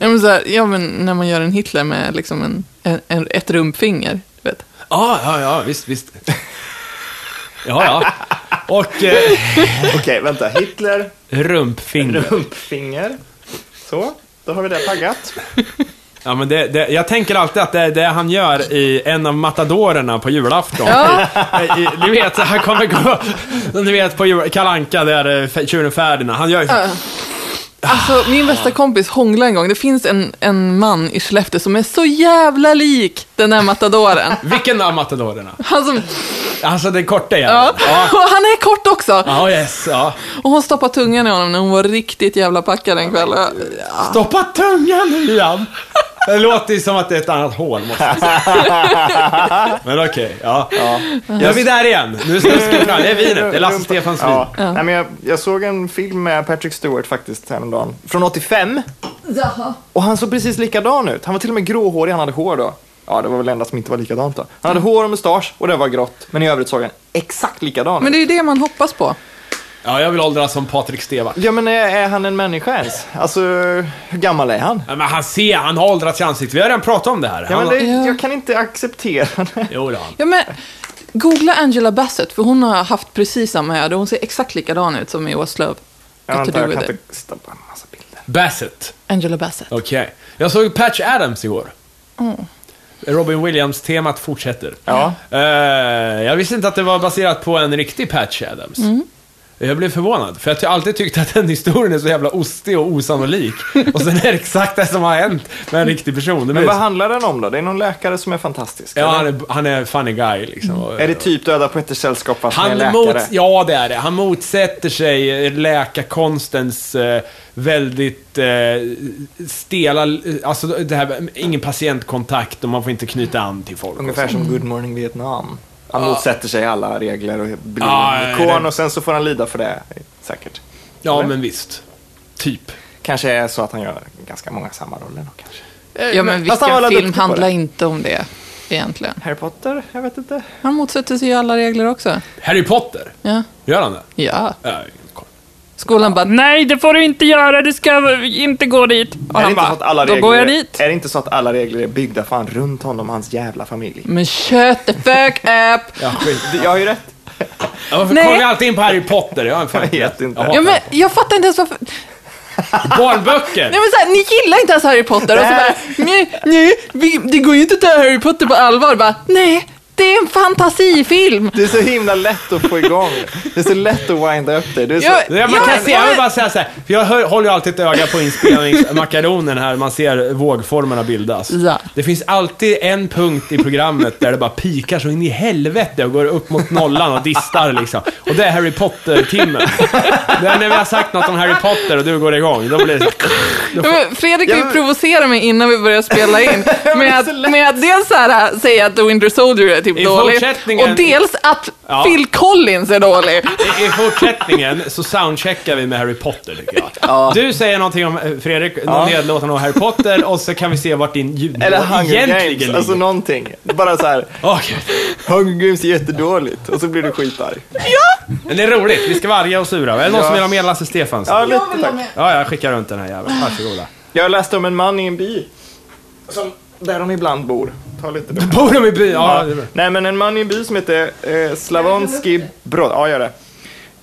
Ja men, så här, ja, men när man gör en Hitler med liksom en, en, en, ett rumpfinger. du Vet.
Ja, ja, ja, visst, visst. Ja, ja. Och eh,
Okej, vänta. Hitler,
rumpfinger.
rumpfinger. Så, då har vi det taggat.
Ja, men det, det, jag tänker alltid att det är det han gör i en av matadorerna på julafton.
Ja.
I, i, ni vet, han kommer gå... Ni vet på jul, Kalle Anka där, eh, tjuren Ferdinand. Han gör ju...
Ah.
Alltså, min bästa kompis hånglade en gång. Det finns en, en man i Skellefteå som är så jävla lik den där matadoren.
Vilken av matadorerna?
Han som,
Alltså den korta igen.
ja. Och han är kort också.
Ja, yes, ja.
Och hon stoppade tungan i honom när hon var riktigt jävla packad en kväll. Ja.
Stoppa tungan Liam! Det låter ju som att det är ett annat hål, måste jag säga. Men okej, ja. ja. Nu är vi där igen. Nu snuskar vi fram. Det är vinet. Det är Lasse Stefans vin.
Ja. Nej, men jag, jag såg en film med Patrick Stewart faktiskt häromdagen. Från 85. Och han såg precis likadan ut. Han var till och med gråhårig, han hade hår då. Ja, det var väl det enda som inte var likadant då. Han hade hår och mustasch och det var grått. Men i övrigt såg han exakt likadan
Men
ut.
det är ju det man hoppas på.
Ja, jag vill åldras som Patrik Stevart.
Ja, men är, är han en människa ens? Alltså, hur gammal är han?
Ja, men han ser, han har åldrats i ansiktet. Vi har redan pratat om det här.
Ja,
Han
men
har-
det,
Ja.
jag kan inte acceptera det.
Jo, det har han.
Ja, men, googla Angela Bassett, för hon har haft precis samma öde. Hon ser exakt likadan ut som i Åslöv.
Jag,
What to
väntar,
do
jag
with
kan
it.
inte stoppa en massa bilder.
Bassett.
Angela Bassett.
Okej. Jag såg Patch Adams igår. Robin Williams-temat fortsätter.
Mm. Ja.
Eh, jag visste inte att det var baserat på en riktig Patch Adams.
Mm.
Jag blev förvånad, för jag har alltid tyckt att den historien är så jävla ostig och osannolik. och sen är det exakt det som har hänt med en riktig person. Det
Men
blir
vad
så-
handlar den om då? Det är någon läkare som är fantastisk? eller?
ja, han, är, han är funny guy liksom. Och-
Är det typ Döda poeters sällskap fast med en
Han
läkare?
mot, ja, det är det. Han motsätter sig eh, läkarkonstens eh, väldigt eh, stela, eh, alltså det här, med ingen patientkontakt och man får inte knyta an till folk. och
Ungefär
så.
som Good Morning Vietnam. Han motsätter sig alla regler och blir
Ja,
en ikon
det-
och sen så får han lida för det, säkert.
Ja,
Eller?
men visst. Typ.
Kanske är så att han gör ganska många samma roller då kanske.
Ja, men
Fast han var
vilka
alla
film
duktiga på
handlar
det.
inte om det egentligen?
Harry Potter? Jag vet inte.
Han motsätter sig ju alla regler också.
Harry Potter,
Ja.
gör han det?
ja.
Ja, jag har ingen koll.
Skolan bara, nej det får du inte göra, du ska inte gå dit. Och
är det
han
inte så att alla
bara, då
regler,
går jag dit.
Är det inte så att alla regler är byggda fan runt honom och hans jävla familj?
Men shut the fuck up!
Ja, skit.
Jag har ju rätt.
Ja, Varför
Nej.
kollar vi alltid in på Harry Potter? Jag har fan
Jag vet inte.
hatar
Ja, men jag fattar inte ens varför.
Barnböcker!
Nej, men så här, ni gillar inte ens Harry Potter och så bara, nej, nej, vi, det går ju inte att ta Harry Potter på allvar. Bara, nej, det är en fantasifilm.
Det är så himla lätt att få igång. Det är så lätt att winda upp dig. Det är så...
Jag-
Ja, man
Ja,
kan se, jag
ja,
vill bara säga så här, för jag hör, håller ju alltid ett öga på inspelningsmakaronen här, man ser vågformerna bildas.
Ja.
Det finns alltid en punkt i programmet där det bara pikar så in i helvete och går upp mot nollan och distar liksom. Och det är Harry Potter-timmen. Det är när vi har sagt något om Harry Potter och du går igång, då blir det så-
Ja, men Fredrik har
Ja,
ju
men-
provocerat mig innan vi började spela in med att, med att dels så här, äh, säga att The Winter Soldier är typ
I
dålig
fortsättningen-
och dels att
Ja.
Phil Collins är dålig.
I, I fortsättningen så soundcheckar vi med Harry Potter tycker jag. Du säger någonting om, eh, Fredrik, någon nedlåtande om Harry Potter och så kan vi se vart din ljudnivå
Eller Hunger
egentligen
Games,
ligger.
alltså någonting. Bara så här,
Åh, gud.
Hunger Games är jättedåligt och så blir du skitarg.
Men det är roligt, vi ska vara arga och sura. Är det någon som vill ha med Lasse Stefans?
Ja, lite tack.
Ja, jag skickar runt den här jäveln. Varsågoda.
Jag läste om en man i en by. Som, där de ibland bor. Ta lite då.
Bor de i by? Ja, det är bra.
Nej, men en man i en by som heter eh, Slavonski Brod. Ja, gör det.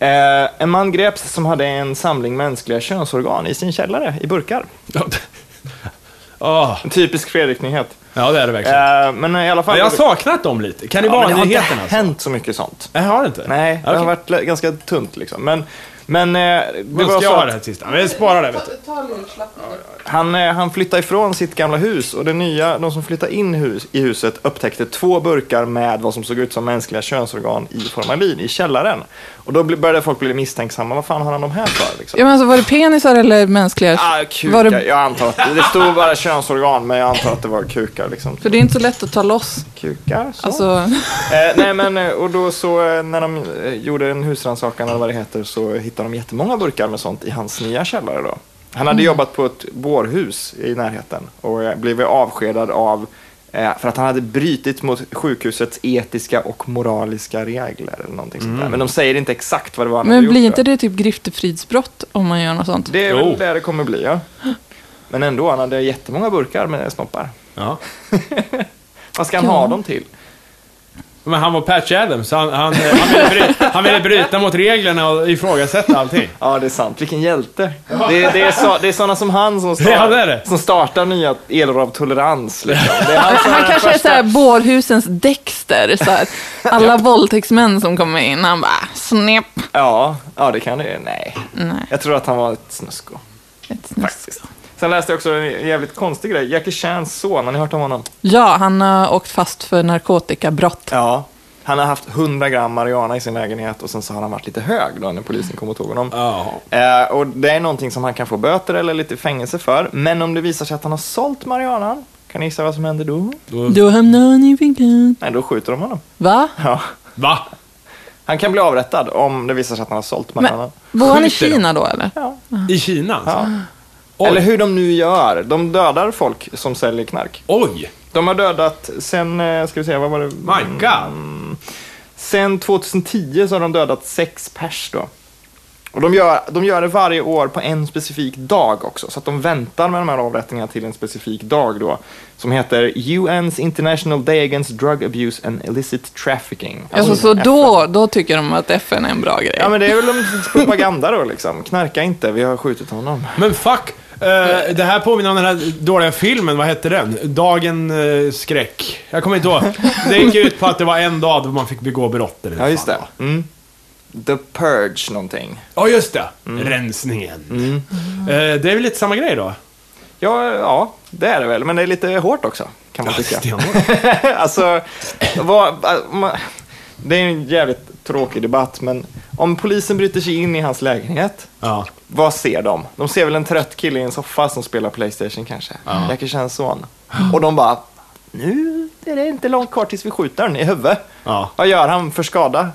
Eh, en man greps som hade en samling mänskliga könsorgan i sin källare i burkar.
Åh,
En typisk Fredrik-nyhet.
ja, det är det verkligen.
Eh, men i alla
Men
fall...
jag har saknat dem lite. Kan ni
ja, men
vara
det har inte
nyheterna? Alltså?
hänt så mycket sånt.
Jag har det inte?
Nej, det har
Okej.
varit le- ganska tunt liksom. Men, men eh, det
Då
var
ska jag
så
ha
att
det här sista. Vi sparar det, vet du.
Han, eh, han flyttade ifrån sitt gamla hus och det nya, de som flyttade in hus, i huset upptäckte två burkar med vad som såg ut som mänskliga könsorgan i formalin i källaren. Och då bli- började folk bli misstänksamma. Vad fan har han de här för? Liksom?
Ja, men alltså, var det penisar eller mänskliga?
Ah,
var
kukar.
det,
Jag antar att det stod bara könsorgan, men jag antar att det var kukar. Liksom.
för det är inte så lätt att ta loss.
Kukar, så.
Alltså,
Eh, nej, men, eh, och då så eh, när de eh, gjorde en husrannsakan eller vad det heter så hittade de jättemånga burkar med sånt i hans nya källare då. Han hade jobbat på ett bårhus i närheten och eh, blev avskedad av eh, för att han hade brutit mot sjukhusets etiska och moraliska regler eller någonting sånt där. Men de säger inte exakt vad det var han hade
men blir
gjort.
inte
då.
det typ griftefridsbrott om man gör något sånt?
Det är
Jo.
väl det det kommer bli, ja. Men ändå, han hade jättemånga burkar med snoppar.
Ja.
Vad ska han
Ja.
ha dem till?
Men han var Patch Adams, så han, han, eh, han, ville, bry, han ville bryta mot reglerna och ifrågasätta allting.
Ja, det är sant. Vilken hjälte. Det, det, är, så, det är sådana som han som, star-
Ja, det är det.
som startar nya elor av tolerans. Liksom. Det är han
Alltså,
som
Han
den
kanske är
första-
såhär bårhusens Dexter. Så här. Alla våldtäktsmän som kommer in, han bara snäpp.
Ja, ja, det kan det Nej.
Nej,
Jag tror att han var ett snusko,
ett snusk.
faktiskt. Sen läste jag också en jävligt konstig grej. Jackie Chans son, har ni hört om honom?
Ja, han har åkt fast för narkotikabrott.
Ja. Han har haft 100 gram marijuana i sin lägenhet och sen så har han varit lite hög då när polisen kom och tog honom.
Ja.
Eh, och det är någonting som han kan få böter eller lite fängelse för. Men om det visar sig att han har sålt marijuanan, kan ni gissa vad som händer då?
Mm.
Då hamnar han i finkan.
Nej, då skjuter de honom.
Va?
Ja.
Va?
Han kan bli avrättad om det visar sig att han har sålt marijuana.
Men, bor han i
Skjuter de?
Kina då eller?
Ja.
I Kina alltså?
Ja.
Oj.
Eller hur de nu gör. De dödar folk som säljer knark.
Oj!
De har dödat sen, eh, ska vi se, vad var det? Mm.
My God!
Sen 2010 så har de dödat sex pers då. Och de gör, de gör det varje år på en specifik dag också, så att de väntar med de här avrättningarna till en specifik dag då, som heter UN's International Day Against Drug Abuse and Illicit Trafficking.
Alltså, så
Alltså,
då, då tycker de att FN är en bra grej.
Ja men det är väl en propaganda då liksom. Knarka inte, vi har skjutit honom.
Men fuck! Eh, det här påminner om den här dåliga filmen, vad hette den? Dagen eh, skräck. Jag kommer inte ihåg. Det gick ut på att det var en dag då man fick begå brott eller
Ja just det.
fan.
Mm. The Purge någonting.
Ja, just det. Rensningen.
Mm.
Eh, det är väl lite samma grej då?
Ja, ja, det är det väl, men det är lite hårt också kan man tycka.
Stenhårt.
alltså, vad, äh, man, det är ju en jävligt tråkig debatt, men om polisen bryter sig in i hans lägenhet,
ja.
vad ser de? De ser väl en trött kille i en soffa som spelar Playstation kanske, Jackie Chans son. Och de bara, nu är det inte långt kvar tills vi skjuter den i huvudet.
Ja.
Vad gör han för skada?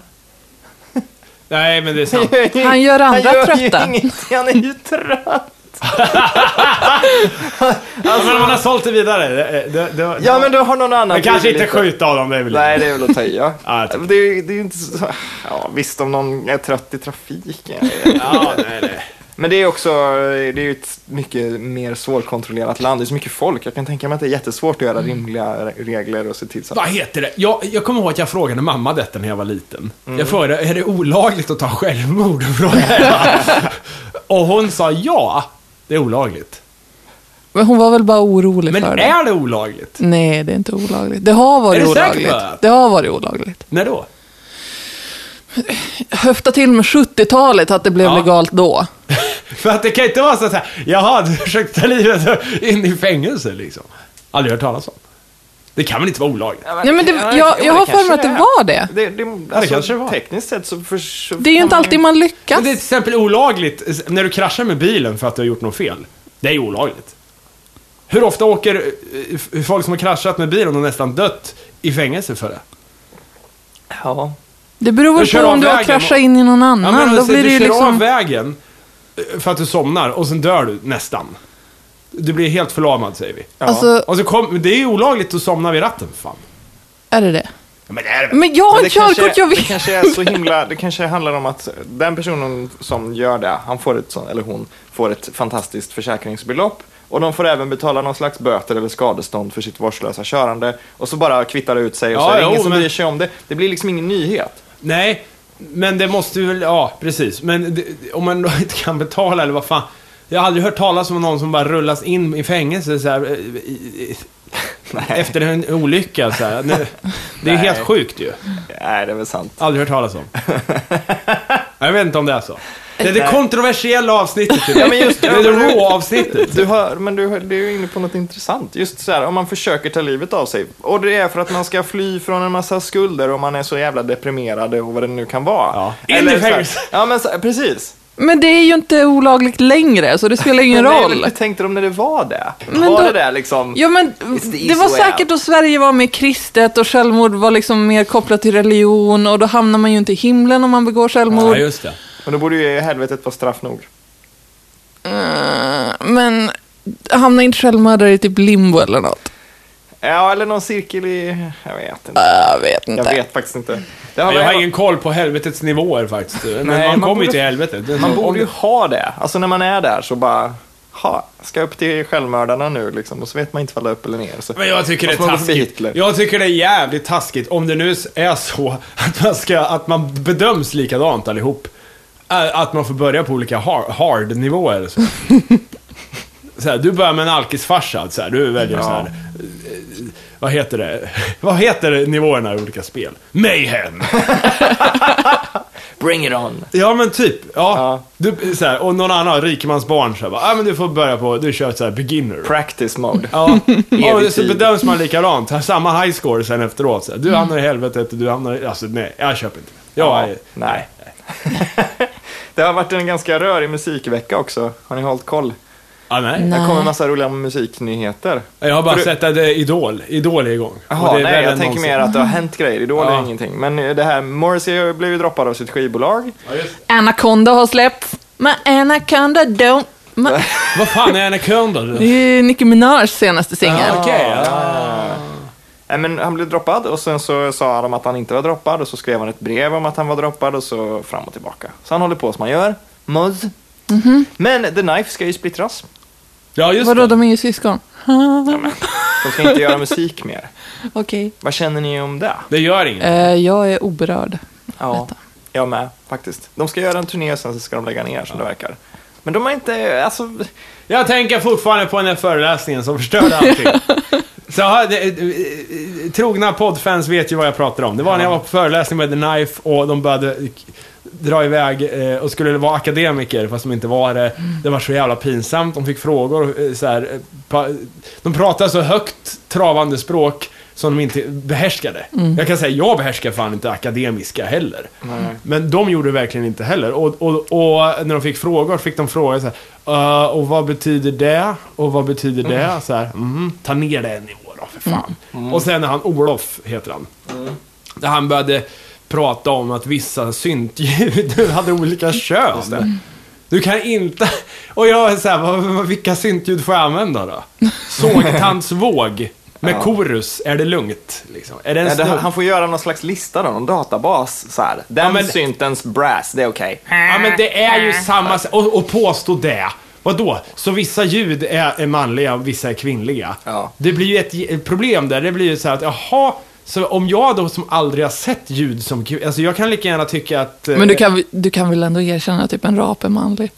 Nej, men det är sant.
Han gör andra
han gör ju
trötta.
ingenting, han är ju trött.
men om man har sålt det vidare. Det, det, det,
Ja, men då har någon annan...
man kanske inte
blivit lite-
skjuta av dem, det är väl
Nej, det är väl att ta i, ja.
Ja, jag tycker-
det, är, ju- det är ju inte så... Ja, visst, om någon är trött i trafiken. jag vet inte.
Ja, nej, nej.
Men det är också, det är ju ett mycket mer svårkontrollerat land. Det är så mycket folk. Jag kan tänka mig att det är jättesvårt att
Mm.
göra rimliga re- regler och se till så att...
Vad heter det? Jag, jag kommer ihåg att jag frågade mamma detta när jag var liten. Jag frågade, är det olagligt att ta självmord? Frågade jag. och hon sa ja, det är olagligt.
Men hon var väl bara orolig
Men
för det.
är det olagligt?
Nej, det är inte olagligt. Det har
Är
varit
du säker på
olagligt.
det?
Det har varit olagligt.
När då?
Höfta till med 70-talet att det blev
Ja.
legalt då.
För att det kan inte vara så att säga, jaha, du försökte ta livet in i fängelse liksom. Aldrig hört talas om. Det kan väl inte vara olagligt?
Nej, men det- jag-
jo,
jag har
kanske
för mig att det var det.
Det, det, alltså,
kanske det var.
Tekniskt sett så... För, så
Det är ju inte alltid man lyckas.
Men det är till exempel olagligt när du kraschar med bilen för att du har gjort något fel. Det är ju olagligt. Hur ofta åker eh, f- folk som har kraschat med bilen och nästan dött i fängelse för det?
Ja.
Det beror
Du kör
väl på
av
om du har
vägen
kraschat
och-
in i någon
Ja,
annan.
men
då
alltså,
blir
du
det ju
kör av
liksom...
vägen eh, för att du somnar och sen dör du nästan. Du blir helt förlamad säger vi.
Ja.
Alltså,
Och så kom, det är ju olagligt att somna vid ratten för fan.
är det det?
Ja, men det är det väl?
Men jag har
Men
ett körkort, jag
Det
vet.
kanske är så himla, det kanske handlar om att den personen som gör det, han får ett sånt, eller hon, får ett fantastiskt försäkringsbelopp och de får även betala någon slags böter eller skadestånd för sitt vårdslösa körande och så bara kvittar det ut sig och så
Ja,
är det
jo,
ingen som
men-
bryr sig om det. Det blir liksom ingen nyhet.
Nej, men det måste ju väl, ja precis. Men det, om man då inte kan betala eller vad fan. Jag har aldrig hört talas om någon som bara rullas in i fängelse så här, eh, i, i, efter en olycka så här. Nu, Det är
Nej.
helt sjukt ju.
Nej, det är väl sant.
Aldrig hört talas om. Jag vet inte om det är så. Det är det kontroversiella avsnittet.
Ja, men just-
det är det raw-avsnittet.
Du har, men du, har- du är inne på något intressant. Just så här, om man försöker ta livet av sig. Och det är för att man ska fly från en massa skulder och man är så jävla deprimerad och vad det nu kan vara.
Ja. In i
så här-
fängelse.
Ja, men så, precis.
Men det är ju inte olagligt längre, så det spelar ingen
Men liksom- det är
roll.
väl- Hur tänkte de när det var det?
Men
var
då-
det där liksom...
Ja, men
the easy
det var
way
säkert
out.
då Sverige var mer kristet och självmord var liksom mer kopplat till religion och då hamnar man ju inte i himlen om man begår självmord.
Ja, just det.
Men då borde ju helvetet vara straff nog.
Eh, Men hamnar inte självmördare i typ limbo eller något?
Ja, eller någon cirkel i... Jag vet inte.
Jag vet Äh, inte.
Jag vet faktiskt inte. Det har
Men Jag har
väl-
ingen koll på helvetets nivåer faktiskt. Men
Nej, man
man, kommer ju
borde-
till helvetet. Det är
Man
så-
borde ju ha det. Alltså när man är där så bara... ha, ska upp till självmördarna nu liksom. Och så vet man inte om det är upp eller ner. Så.
Men jag tycker det är
Fast man går för
taskigt.
Hitler.
Jag tycker det är jävligt taskigt om det nu är så att man, ska, att man bedöms likadant allihop. Ä- Att man får börja på olika har- hard-nivåer. Så. Så här, du börjar med en alkisfarsa, så här, du väljer
Ja.
så här, eh, vad heter det? Vad heter nivåerna i olika spel? Mayhem!
Bring it on!
Ja men typ, ja.
Ja.
Du, så här, och någon annan, rikemansbarn, så här, bara, ah, men du får börja på, du kör ett så här beginner.
Practice mode.
Ja, ja
Evig
och så
tid. Mm.
bedöms man likadant. Har Samma high score sen efteråt. Så här, Du hamnar i helvetet, du hamnar i... Alltså nej, jag köper inte. Jag, ja.
nej. det har varit en ganska rörig musikvecka också. Har ni hållit koll?
Ah, nej.
Nej.
Det kommer en massa roliga musiknyheter.
Jag har bara
Har du-
sett att det är Idol. Idol är igång. Och
Jaha,
det är
nej,
värre
jag
än
tänker
någonsin.
mer att det har hänt grejer. Idol
Ja.
är ingenting. Men eh, det här, Morrissey blev ju droppad av sitt skivbolag.
Ja, just det.
Anaconda har släppts. Men Anaconda don't. Men,
Vad fan är Anaconda?
det
du?
är ju Nicki Minajs senaste singel.
Ah, Okej, ja.
Nej, Eh, men han blev droppad och sen så sa de att han inte var droppad och så skrev han ett brev om att han var droppad och så fram och tillbaka. Så han håller på som han gör. Muzz.
Mhm.
Men The Knife ska ju splittras.
ja, just
Vadå,
det.
de är ju syskon.
De ska inte göra musik mer.
Okej.
Vad känner ni om det?
Det gör inget.
Eh, jag är oberörd.
Ja, jag med faktiskt. De ska göra en turné och sen så ska de lägga ner som det verkar. Men de har inte, alltså,
Jag tänker fortfarande på den här föreläsningen som förstörde allting. Så, har- det- eh, trogna poddfans vet ju vad jag pratar om. Det var när jag var på föreläsning med The Knife och de började dra iväg eh, och skulle vara akademiker fast de inte var det. Det var så jävla pinsamt. De fick frågor eh, så här, eh, pa- De pratade så högt travande språk som de inte behärskade. Jag kan säga, jag behärskar fan inte akademiska heller. Men de gjorde verkligen inte heller. Och, och, och när de fick frågor fick de fråga så här, "Eh, och vad betyder det? Och vad betyder det? Så här, "Mhm, ta ner det en nivå då, för fan. Och sen när han, Olof heter han. Där han började prata om att vissa syntljud hade olika kön. Du kan inte... Och jag är så här, vad, vad, vilka syntljud får jag använda då? Sågtandsvåg med korus, är det lugnt? Liksom. Är det en
nej, det,
snubbe?
han får göra någon slags lista då, någon databas så här. Den
Ja, men-
syntens brass, det är okej.
Ja men det är ju samma s- och, och påstå det. Vadå? Så vissa ljud är, är manliga och vissa är kvinnliga.
Ja.
Det blir ju ett ge- ett problem där. Det blir ju så här att jaha, så om jag då som aldrig har sett ljud som kv- Alltså jag kan lika gärna tycka att... eh,
Men du kan, du kan väl ändå erkänna att typ en rap är manlig?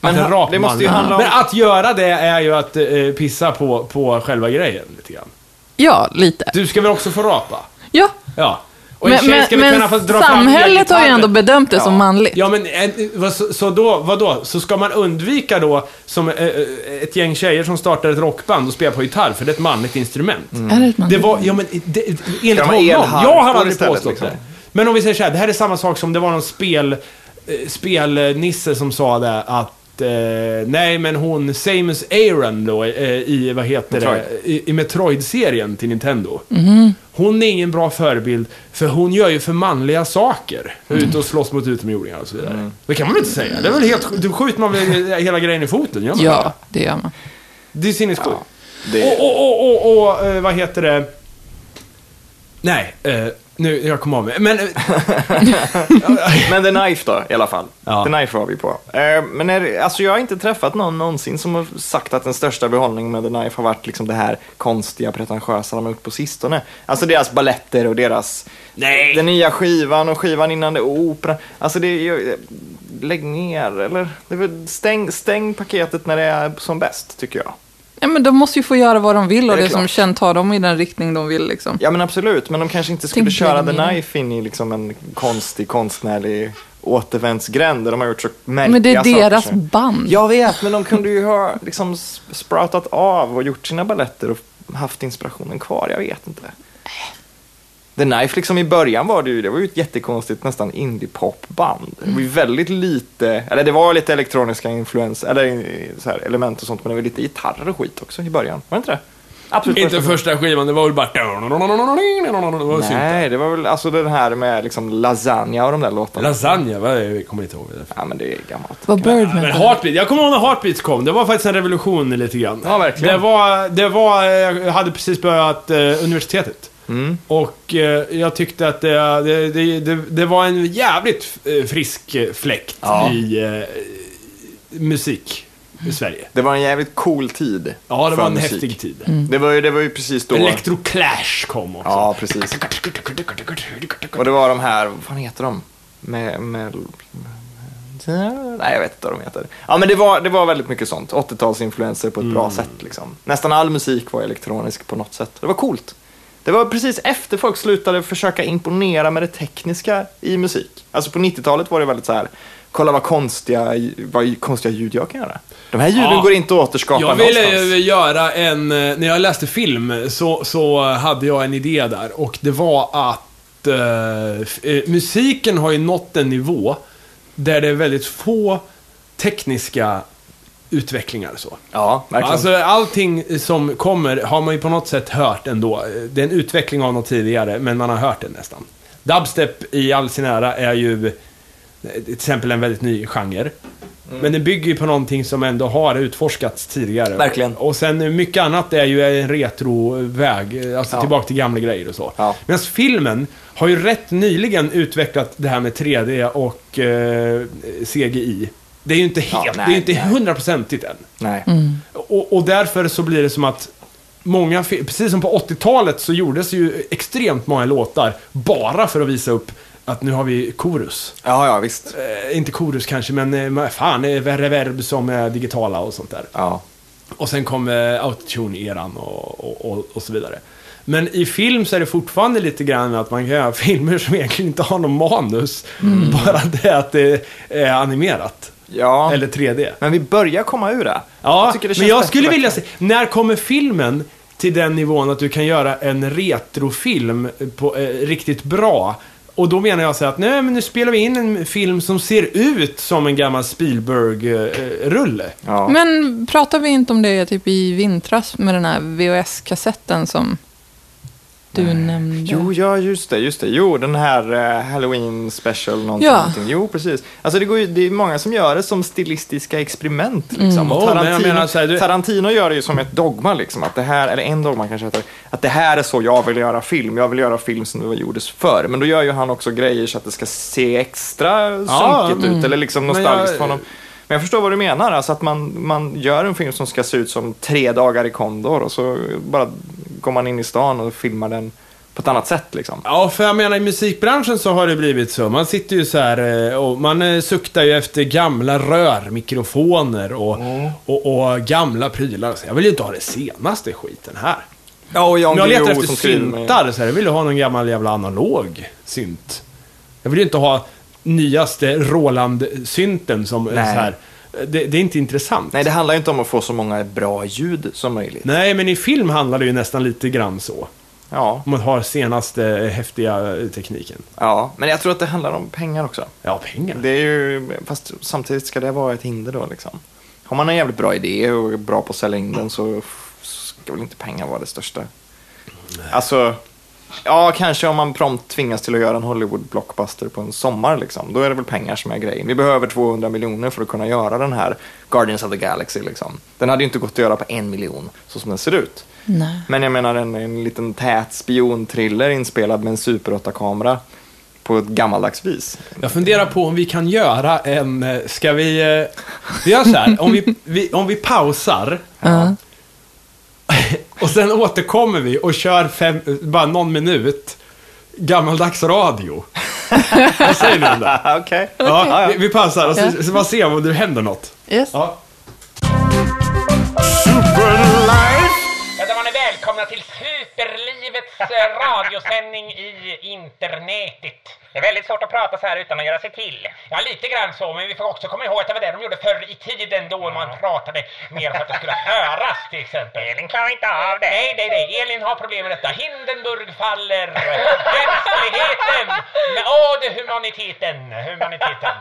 att
Men
en
han-
rak
det måste ju
man-
handla om-
Men att göra det är ju att eh, pissa på, på själva grejen lite grann.
Ja, lite.
Du ska väl också få rapa?
Ja.
Ja. Och en
Men,
tjej
men,
ska väl kunna få
men
dra fram
samhället har ju
elgitarren.
ändå bedömt det som
Ja.
manligt.
Ja, men eh, vad- så, så då, vadå? Så ska man undvika då, som eh, eh, ett gäng tjejer som startar ett rockband och spelar på gitarr, för det är ett manligt instrument.
Mm. Är det ett manligt?
Det var, ja men, eh, det,
de
enligt
ha
honom.
elharpor
Jag har aldrig
istället,
påstått
liksom?
det. Men om vi säger så här, det här är samma sak som det var någon spel, eh, spelnisse som sa det att eh, nej, men hon, Samus Aran då, eh, i, vad heter
Metroid.
det, i, i Metroid-serien till Nintendo. Hon är ingen bra förebild, för hon gör ju för manliga saker. Ute och slåss mot utomjordingar och så vidare. Det kan man väl inte säga? Det är väl helt, då skjuter man väl hela grejen i foten, gör man
Ja, det gör man.
det? Det är sinnessjukt.
Det-
Och, och, och, och, och eh, vad heter det? Nej, eh, nu, jag kom av mig. Men, eh,
Men The Knife då, i alla fall.
Ja.
The Knife var vi på. Eh, men är, det- alltså jag har inte träffat någon någonsin som har sagt att den största behållningen med The Knife har varit liksom det här konstiga, pretentiösa de har gjort på sistone. Alltså deras balletter och deras...
Nej.
Den nya skivan och skivan innan det och opera. Alltså det är ju... Lägg ner, eller? Det är väl, stäng, stäng paketet när det är som bäst, tycker jag.
Ja, men de måste ju få göra vad de vill och
Det
det,
är
som
klart.
känn tar dem i den riktning de vill liksom.
Ja men absolut, men de kanske inte skulle
Tänk
köra The
längre.
Knife in i liksom en konstig konstnärlig återvändsgränd där de har gjort så märkliga
Men det är deras
saker.
band.
Jag vet, men de kunde ju ha liksom s- spratat av och gjort sina balletter och haft inspirationen kvar, jag vet inte. The Knife liksom i början var det ju, det var ju ett jättekonstigt nästan indie-popband. Det var
Mm.
ju väldigt lite, eller det var lite elektroniska influens, eller eh, så här, element och sånt, men det var lite gitarrer och skit också i början, var det inte det? Absolut
Inte
första-
första skivan, det var väl bara... Det var synd.
Nej, det var väl alltså den här med liksom lasagna och de där låtarna.
Lasagne, vad är det? Jag kommer inte ihåg. Det.
ja, men det är gammalt.
Vad Birdman
Men Heartbeat, jag kommer ihåg när Heartbeats kom. Det var faktiskt en revolution lite grann.
Ja, verkligen.
Det var, det var, eh, jag hade precis börjat eh, universitetet. Och eh, jag tyckte att det, det, det, det, det var en jävligt eh, frisk eh, fläkt
Ja.
i eh, musik. i Sverige.
Det var en jävligt cool tid.
Ja, det
för
var en
musik.
häftig tid.
Det var, ju, det var ju precis då.
Electro Clash kom också.
Ja, precis. Och det var de här, vad fan heter de? Med, med, nej, jag vet inte vad de heter. Ja, men det var, det var väldigt mycket sånt. 80-talsinfluenser på ett bra sätt. Liksom. Nästan all musik var elektronisk på något sätt. Det var coolt. Det var precis efter folk slutade försöka imponera med det tekniska i musik. Alltså på 90-talet var det väldigt så här, kolla vad konstiga, vad konstiga ljud jag kan göra. De här ljuden
Ja.
går inte att återskapa
Jag ville
någonstans.
ju göra en, eh, när jag läste film så, så hade jag en idé där och det var att eh, f- eh, musiken har ju nått en nivå där det är väldigt få tekniska utvecklingar och så.
Ja, verkligen.
Alltså allting som kommer har man ju på något sätt hört ändå. Det är en utveckling av något tidigare, men man har hört det nästan. Dubstep i all sin ära är ju eh, till exempel en väldigt ny genre.
Mm.
Men den bygger ju på någonting som ändå har utforskats tidigare.
Verkligen.
Och sen eh, mycket annat är ju en retroväg, eh, alltså
Ja.
tillbaka till gamla grejer och så.
Ja.
Medan filmen har ju rätt nyligen utvecklat det här med 3D och eh, CGI. Det är ju inte
Ja,
helt, det är
nej,
ju inte
nej.
hundraprocentigt än.
nej.
Och, och därför så blir det som att många, fi- precis som på 80-talet så gjordes ju extremt många låtar bara för att visa upp att nu har vi korus.
Ja, ja, visst.
Eh, inte korus kanske, men eh, ma- fan, eh, reverb som är digitala och sånt där.
Ja.
Och sen kom eh, autotune-eran och, och, och, och så vidare. Men i film så är det fortfarande lite grann att man kan göra filmer som egentligen inte har någon manus. Bara det att det är animerat.
ja.
Eller 3D.
Men vi börjar komma ur det.
Ja,
tycker det känns
men jag
bättre
skulle
och
vilja
bättre.
se, när kommer filmen till den nivån att du kan göra en retrofilm på, eh, riktigt bra? Och då menar jag så här att nej, men nu spelar vi in en film som ser ut som en gammal eh, Spielberg-rulle.
Ja.
Men pratar vi inte om det typ i vintras med den här VHS-kassetten som du nämnde?
Jo, ja, just det, just det. Jo, den här eh, Halloween special någonting,
Ja.
någonting. Jo, precis. Alltså det, går ju, det är många som gör det som stilistiska experiment.
Mm.
Liksom. Och
Jo, men jag
Tarantino,
menar så här, du-
Tarantino gör det ju som ett dogma, liksom, att det här, eller en dogma kanske heter, att det här är så jag vill göra film. Jag vill göra film som det gjordes förr. Men då gör ju han också grejer så att det ska se extra sunkigt ut, eller liksom
Men
nostalgiskt
jag-
för honom. Men jag förstår vad du menar, alltså att man, man gör en film som ska se ut som tre dagar i Kondor och så bara går man in i stan och filmar den på ett annat sätt liksom.
Ja, för jag menar i musikbranschen så har det blivit så. Man sitter ju så här eh, och man eh, suktar ju efter gamla rörmikrofoner och,
Mm.
och, och gamla prylar. Så jag vill ju inte ha det senaste skiten här.
Ja, och Jan
Om jag letar
Guillou
efter
som skriver med-
syntar så här, jag vill ju ha någon gammal jävla analog synt. Jag vill ju inte ha nyaste Roland-synten som är så
Nej.
här. Det, det är inte intressant.
Nej, det handlar ju inte om att få så många bra ljud som möjligt.
Nej, men i film handlar det ju nästan lite grann så.
Ja,
Om man har senaste eh, häftiga eh, tekniken.
ja, men jag tror att det handlar om pengar också.
Ja, pengar.
Det är ju, fast samtidigt ska det vara ett hinder då liksom. Har man en jävligt bra idé och är bra på att sälja in den så f- ska väl inte pengar vara det största. Alltså, ja kanske om man prompt tvingas till att göra en Hollywood-blockbuster på en sommar liksom. Då är det väl pengar som är grejen. Vi behöver 200 miljoner för att kunna göra den här Guardians of the Galaxy liksom. Den hade ju inte gått att göra på en miljon så som den ser ut.
Nej.
Men jag menar en, en liten tät spionthriller inspelad med en Super 8-kamera på ett gammaldags vis.
Jag funderar på om vi kan göra en, eh, ska vi, eh, vi gör så här, om vi, vi, om vi pausar
Ja.
och sen återkommer vi och kör fem, eh, bara någon minut gammaldags radio. Vad säger du om det?
Ah, Okej.
Ja, vi, vi pausar och så,
Ja.
så bara se om det händer något.
Yes.
Ja.
Ja, då var ni välkomna till Superlivets eh, radiosändning i internetet. Det är väldigt svårt att prata så här utan att göra sig till. Ja, lite grann så, men vi får också komma ihåg att det var det de gjorde förr i tiden då man pratade mer för att det skulle höras till exempel. Elin klarar inte av det. Nej, nej, nej. Elin har problem med detta. Hindenburg faller. Mänskligheten. Men, Åh, det är humaniteten. Humaniteten.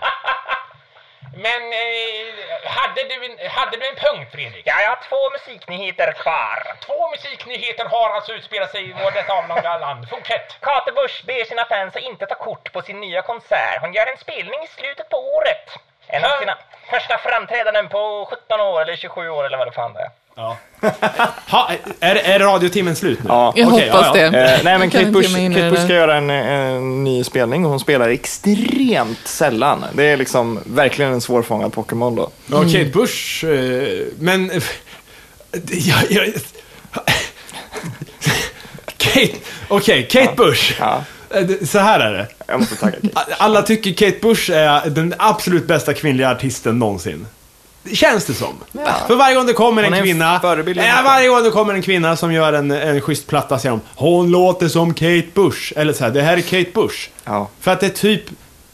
Men eh, hade, du en, hade du en punkt Fredrik? Ja, jag har två musiknyheter kvar. Två musiknyheter har alltså utspelat sig i vår detta avlånga land. Fortsätt!
Kate Bush ber sina fans att inte ta kort på sin nya konsert. Hon gör en spelning i slutet på året. En av
Ja.
sina första framträdanden på 17 år eller 27 år eller vad det fan det är.
Ha, är, är radiotimmen slut nu?
Ja.
Jag
Okej,
hoppas
ja, ja.
det.
Eh, nej, men
Jag kan
Kate
inte ge
Bush,
mig in i
Kate
det
Bush
där.
ska göra en, en ny spelning och hon spelar extremt sällan. Det är liksom verkligen en svårfångad Pokémon då.
Ja, Kate Bush, eh, men... eh, Jag, jag, Kate, okej, Kate Bush.
Ja.
Eh, det- Så här är det.
Jag måste tagga Kate.
Alla tycker Kate Bush är den absolut bästa kvinnliga artisten någonsin. Känns det som. För varje gång det kommer
Hon är en
en kvinna,
förebild i
ja,
människan.
varje gång det kommer en kvinna som gör en, en schysst platta säger de Hon låter som Kate Bush. Eller så här, det här är Kate Bush.
Ja.
För att det är typ,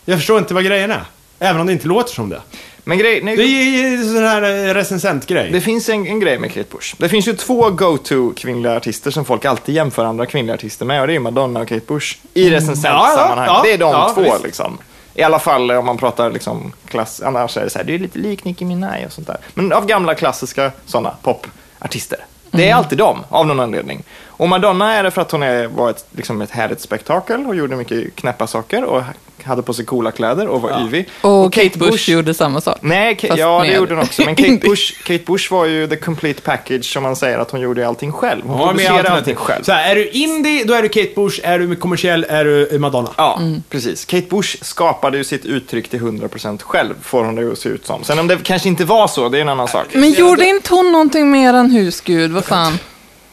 jag förstår inte vad grejen är. Även om det inte låter som det.
Men grej,
Det
nej,
är ju sån här eh, recensentgrej.
det finns en, en grej med Kate Bush. Det finns ju två go-to kvinnliga artister som folk alltid jämför andra kvinnliga artister med och det är ju Madonna och Kate Bush. I recensentsammanhang.
Mm. ja, ja,
det är de
ja,
två
visst.
liksom. I alla fall om man pratar liksom klass, annars är det så här, du är lite lik Nicki Minaj och sånt där. Men av gamla klassiska sådana popartister. Det
Mm.
är alltid dem, av någon anledning. Och Madonna är det för att hon är, var ett, liksom ett härligt spektakel och gjorde mycket knäppa saker och hade på sig coola kläder och var yvig.
Och, Kate Bush, gjorde samma sak.
Nej, Ka-
Fast
ja det
mer
gjorde hon också. Men Kate
indie.
Bush, Kate Bush var ju the complete package som man säger att hon gjorde allting själv. Hon
Ja, men
producerade
alternativ.
allting själv.
Så här, är du indie, då är du Kate Bush. Är du kommersiell, är du eh, Madonna.
Ja,
Mm.
precis. Kate Bush skapade ju sitt uttryck till 100% själv, får hon det ju att se ut som. Sen om det kanske inte var så, det är en annan sak.
Men gjorde inte hon någonting mer än husgud? Vad fan?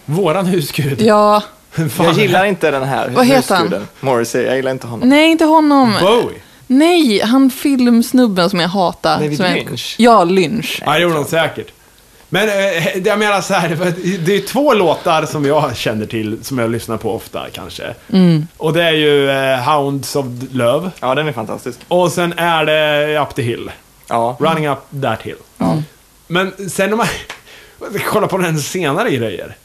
Våran husgud.
Ja.
Fan.
jag gillar inte den här
Vad heter han?
husguden. Morrissey, jag gillar inte honom.
Nej, inte honom.
Bowie.
Nej, han filmsnubben som jag hatar.
David
som jag...
Lynch?
Ja, Lynch.
Ja, det gjorde hon säkert. Men eh, det jag menar så här, för att det är två låtar som jag känner till, som jag lyssnar på ofta kanske.
Mm.
Och det är ju eh, Hounds of Love
Ja, den är fantastisk.
och sen är det Up the Hill.
Ja.
Running Up That Hill. Men sen om man kollar på den senare grejer.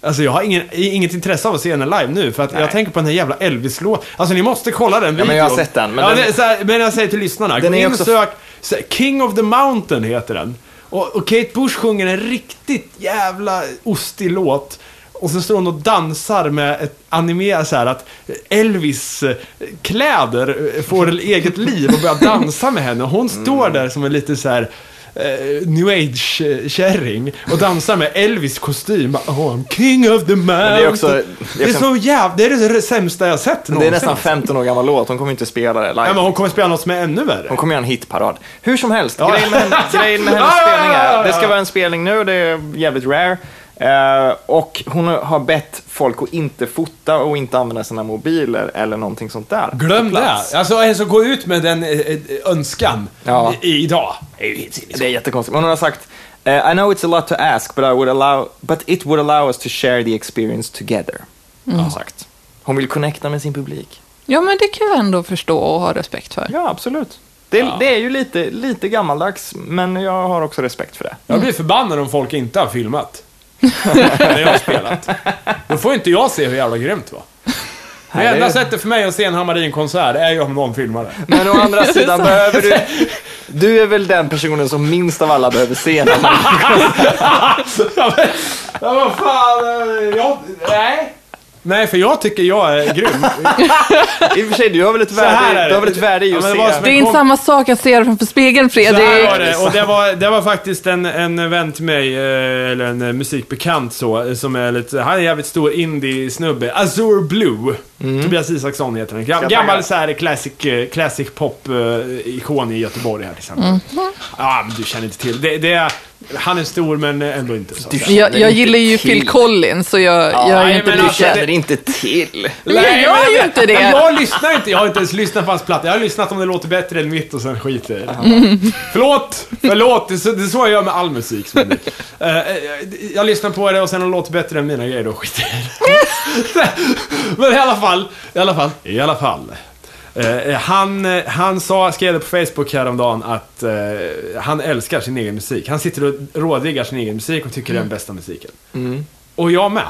Alltså jag har ingen, inget intresse av att se henne live nu för att
Nej.
jag tänker på den här jävla Elvis-låten. Alltså ni måste kolla den
Ja,
videon.
men jag har sett den, men
Men, ja,
den-
det, så här, men jag säger till lyssnarna,
Den
gå
är
in och
också-
sök. så här, King of the Mountain heter den. Och, och Kate Bush sjunger en riktigt jävla ostig låt. Och så står hon och dansar med ett anime så här att Elvis eh, kläder eh, får eget liv och börjar dansa med henne. Och hon
Mm.
står där som en liten så här eh, new age-kärring och dansar med Elvis kostym. Bara, Oh, I'm king of the mountain.
det är också- jag
det är
kan-
så jävla... Det är det sämsta jag sett
Det är
någonsin.
nästan 15 år gammal låt, hon kommer inte spela det
Nej, men
live.
hon kommer spela något som är ännu värre.
Hon kommer göra en hitparad. Hur som helst,
Ja.
grejen med, henne, grejen med hennes
Ja, ja, ja,
spelning
ja,
är, det
ja.
ska vara en spelning nu, det är jävligt rare. Eh, och hon har bett folk att inte fota och inte använda sina mobiler eller någonting sånt där.
Glöm
På
det.
plats.
Alltså, alltså gå ut med den eh, eh, önskan
Ja.
i, idag.
Det är jättekonstigt. Men hon har sagt eh, I know it's a lot to ask but, I would allow, but it would allow us to share the experience together. Har
Mm.
hon sagt. Hon vill connecta med sin publik.
Ja, men det kan jag ändå förstå och ha respekt för.
Ja, absolut. Det, det är ju lite, lite gammaldags, men jag har också respekt för det.
Jag blir förbannad om folk inte har filmat. När jag har spelat. Då får inte jag se hur jävla grymt det var. Det
Nej, det är-
enda sättet för mig att se en Hammarin-konsert är ju om någon filmar det.
Men å andra sidan behöver du... Du är väl den personen som minst av alla behöver se när man...
ja, men, ja, vad fan. eh, Jag, nej. Nej, för jag tycker jag är grym.
I och för sig, du har väl ett
här är
värde,
det.
du har väl ett värde i
Ja,
att
men det
se.
var som
Det är inte
kom-
samma sak att se det framför spegeln,
Så här
Fredrik.
var det, och det var, det var faktiskt en, en vän till mig, eh, eller en eh, musikbekant så, eh, som är lite, han är en jävligt stor indie-snubbe. Azure Blue. Tobias Isaksson heter han. Gam,
jag
gammal
tagga?
så här classic, eh, classic pop-ikon i Göteborg här till exempel. Ja, men du känner inte till. Det, det är, han är stor men eh, ändå inte så. att säga.
Jag, jag
inte
gillar ju
till.
Phil Collins, så jag, jag är
nej,
inte
men
Du
alltså,
känner
det-
inte till.
Jag
Nej,
gör
men
ju
jag-
inte det.
men Jag lyssnar inte. Jag har inte ens lyssnat på hans platta. Jag har lyssnat om det låter bättre än mitt och sen skiter jag i det.
Mm.
Förlåt! Förlåt! Det är, så, det är så jag gör med all musik. Som jag, Eh, eh, jag lyssnar på det och sen om det låter bättre än mina grejer, då skiter jag i det. Men i alla fall, i alla fall, i alla fall. Eh, han, eh, han sa, skrev det på Facebook häromdagen att eh, han älskar sin egen musik. Han sitter och rådiggar sin egen musik och tycker det är den
Mm.
bästa musiken. Och jag med.